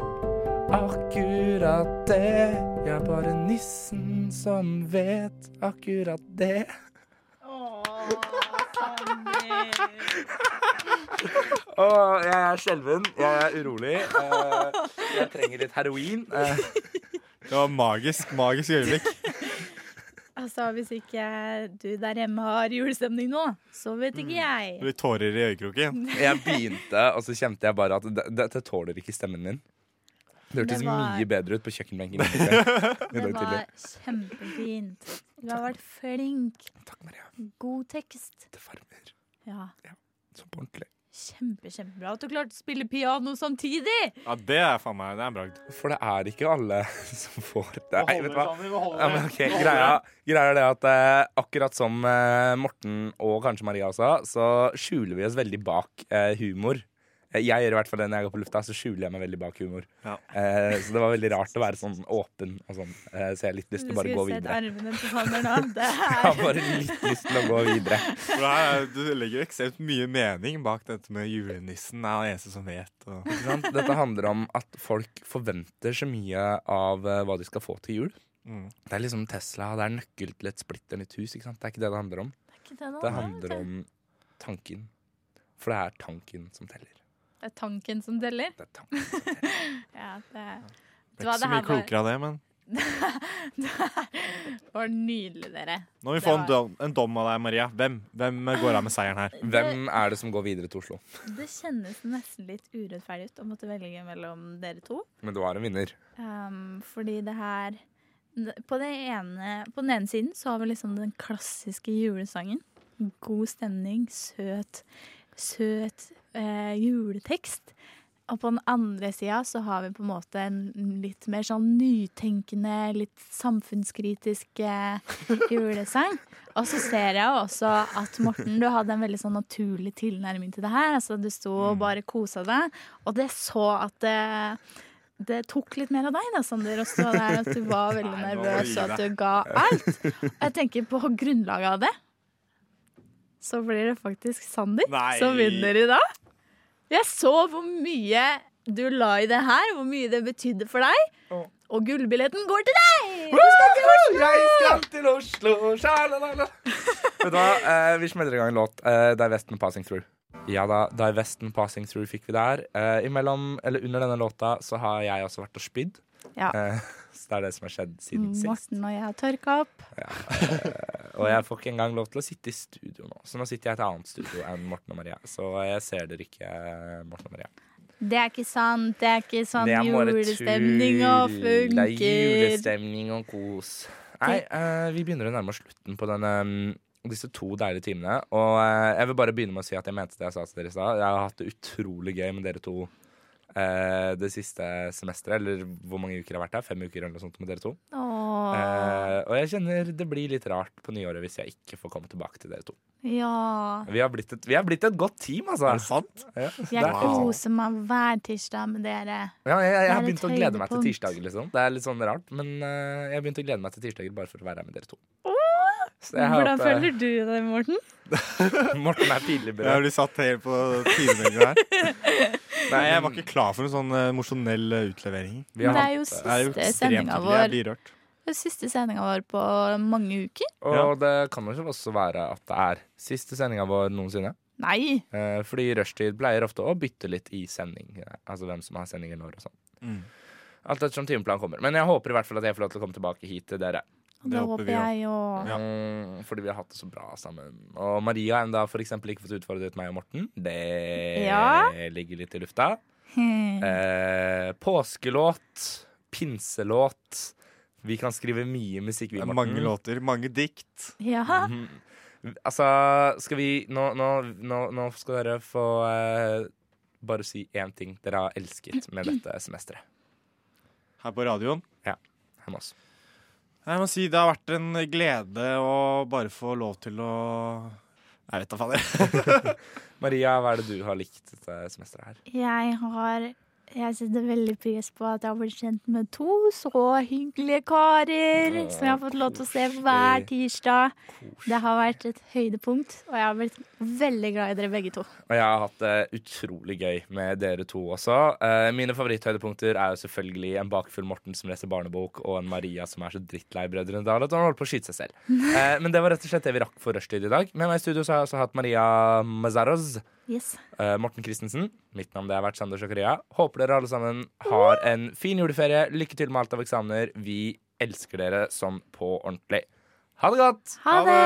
S4: akkurat det. Ja, bare nissen som vet akkurat det. Åh, jeg er skjelven. Jeg er urolig. Eh, jeg trenger litt heroin. Eh,
S5: Det var magisk, magisk øyeblikk.
S6: Altså, hvis ikke du der hjemme har julestemning nå, så vet ikke
S4: Det
S6: jeg.
S4: blir tårer i øyekroken. [LAUGHS] Jeg begynte, og så kjente jeg bare at de- dette tåler ikke stemmen min. Det hørtes
S6: Det var-
S4: mye bedre ut på kjøkkenbenken. i dag- [LAUGHS] i
S6: Det
S4: dag tidlig.
S6: var kjempefint. Du har vært flink.
S4: Takk, Maria.
S6: God tekst.
S4: Det varmer.
S6: Ja.
S4: Så på ordentlig.
S6: Kjempe, kjempebra at du klarte å spille piano samtidig.
S4: Ja, det er faen meg det er en bragd. For det er ikke alle [LAUGHS] som får det. Nei, vet du hva? Ja, men ok, greia, greia er det at eh, akkurat som eh, Morten og kanskje Maria også, så skjuler vi oss veldig bak eh, humor. Eh, Jeg gjør i hvert fall det når jeg går på lufta, så skjuler jeg meg veldig bak humor. Eh, så det var veldig rart å være sånn åpen og sånn. Eh, så jeg har litt lyst til å bare gå videre.
S6: armene til Sander nå. Det
S4: Jeg har bare litt lyst til å gå videre.
S5: For her, er- du legger jo ekstremt mye mening bak dette med julenissen er den eneste som vet. Og.
S4: Ikke sant? Dette handler om at folk forventer så mye av eh, hva de skal få til jul.
S5: Mm.
S4: Det er liksom Tesla, det er nøkkel til et splitter nytt hus. Ikke sant? Det er ikke det det handler om.
S6: ikke det det
S4: det
S6: handler om,
S4: handler om tanken. For det er tanken som teller.
S6: Det er tanken som teller.
S4: Det er
S6: tanken som teller. ja, det,
S5: Det er ikke så mye
S6: [LAUGHS]
S5: klokere av det, men
S6: Det var nydelig, dere.
S5: nå må vi
S6: Det
S5: få en
S6: var-
S5: dom, en dom av deg, Maria. Hvem, hvem går av med seieren her?
S6: Hvem
S4: er det som går videre til Oslo?
S6: Det kjennes nesten litt urettferdig ut å måtte velge mellom dere to.
S4: Men du har en vinner.
S6: Ehm, fordi det her på, det ene, på den ene siden så har vi liksom den klassiske julesangen. God stemning, søt, søt eh, eh, juletekst. Og på den andre sida så har vi på en måte en litt mer sånn nytenkende, litt samfunnskritisk eh,
S16: [LAUGHS]
S6: julesang. Og så ser jeg jo også at Morten, du hadde en veldig sånn naturlig tilnærming til det her. Altså du sto
S16: Mm.
S6: og bare kosa deg, og det så at det, det tok litt mer av deg da, Sander, å stå der. At du var veldig
S16: Nei, nå må du
S6: nervøs,
S16: gi
S6: og at
S16: deg.
S6: du ga alt. Og jeg tenker på grunnlaget av det, så blir det faktisk Sander
S16: Nei.
S6: som vinner i dag. Jeg så hvor mye du la i det her, hvor mye det betydde for deg. Og gullbilletten går til deg! Du skal til Oslo!
S4: Jeg skal til Oslo! Sjalalala. Vet du hva, eh, vi smeller i gang en låt. Eh, Die Westen Passing Through. Ja da, Die Westen Passing Through fikk vi der. Eh, imellom, eller under denne låta så har jeg også vært og spydd.
S6: Ja.
S4: Eh, så det er det som har skjedd siden sist.
S6: Mm, Morten og jeg har tørka opp.
S4: Eh, og jeg får ikke engang lov til å sitte i studio nå. Så nå sitter jeg i et annet studio enn Morten og Maria. Så jeg ser dere ikke, eh, Morten og Maria.
S6: Det er ikke sant. Det er ikke sånn
S4: Det er bare
S6: julestemninga
S4: tull. Det er
S6: funker.
S4: julestemning og kos. Nei, eh, vi begynner å nærme oss slutten på denne, mm, disse to deilige timene. Og eh, jeg vil bare begynne med å si at jeg mente det jeg sa til dere i stad. Jeg har hatt det utrolig gøy med dere to eh, det siste semesteret. Eller hvor mange uker jeg har vært her? Fem uker eller noe sånt med dere to.
S6: Åh.
S4: Eh, og jeg kjenner det blir litt rart på nyåret hvis jeg ikke får komme tilbake til dere to.
S6: Ja.
S4: Vi har blitt et, vi har blitt et godt team, altså. Er det
S5: [LAUGHS]
S4: sant? Ja, det
S6: Jeg
S4: er-
S6: koser meg hver tirsdag med dere.
S4: Ja, jeg, jeg,
S6: Det
S4: har
S6: er et
S4: begynt å glede meg til
S6: høydepunkt.
S4: tirsdager. Liksom. Det er litt sånn rart, men eh, jeg har begynt å glede meg til tirsdager bare for å være her med dere to. Så jeg har
S6: Hvordan
S4: hatt, eh,
S6: føler du det, Morten?
S4: [LAUGHS] Morten er pinlig
S5: Jeg har blitt satt helt på
S4: [LAUGHS]
S5: tidemeldinga her. Nei, jeg var ikke klar for en sånn eh, emosjonell eh, utlevering.
S6: Vi har Det er hatt- jo siste
S5: Det er jo ekstremt
S6: sendingen
S5: hyggelig.
S6: vår.
S5: Jeg blir rørt.
S6: Det er siste sendinga vår på mange uker.
S4: Og det kan jo også være at det er siste sendinga vår noensinne.
S6: Nei!
S4: Eh, fordi rushtid pleier ofte å bytte litt i sending. eh, Altså hvem som har sendinger når og sånn.
S5: Mm.
S4: Alt ettersom timeplanen kommer. Men jeg håper i hvert fall at jeg får lov til å komme tilbake hit til dere.
S6: Og det håper jeg òg.
S4: Mm, Fordi vi har hatt det så bra sammen. Og Maria har ennå f.eks. ikke fått utfordret meg og Morten. Det
S6: Ja.
S4: ligger litt i lufta. Eh, påskelåt, pinselåt. Vi kan skrive mye musikk, vi,
S5: Det er
S4: Morten.
S5: mange låter, mange dikt.
S6: [LAUGHS] Ja.
S4: Altså, skal vi Nå, nå, nå, nå skal dere få eh, bare si én ting dere har elsket med dette semesteret.
S5: Her på radioen?
S4: Ja. Her med oss.
S5: Jeg må si det har vært en glede å bare få lov til å Jeg vet da fader.
S4: Maria, hva er det du har likt dette semesteret her?
S6: Jeg har Jeg setter veldig pris på at jeg har blitt kjent med to så hyggelige karer
S16: Åh,
S6: som jeg har fått lov til å se hver tirsdag. Det har vært et høydepunkt, og jeg har blitt veldig glad i dere begge to.
S4: Og jeg har hatt det utrolig gøy med dere to også. Eh, mine favoritthøydepunkter er jo selvfølgelig en bakfull Morten som leser barnebok, og en Maria som er så drittlei Brødrene Dal at han holder på å skyte seg selv. Eh, men det var rett og slett det vi rakk for rushtid i dag. Med meg i studio så har jeg også hatt Maria Mazaroz.
S6: Yes.
S4: eh, Morten Christensen. Mitt navn det har vært Sander Sjakaria. Håper dere alle sammen har en fin juleferie. Lykke til med alt av eksamener. Vi elsker dere sånn på ordentlig. Ha det godt!
S6: Ha det!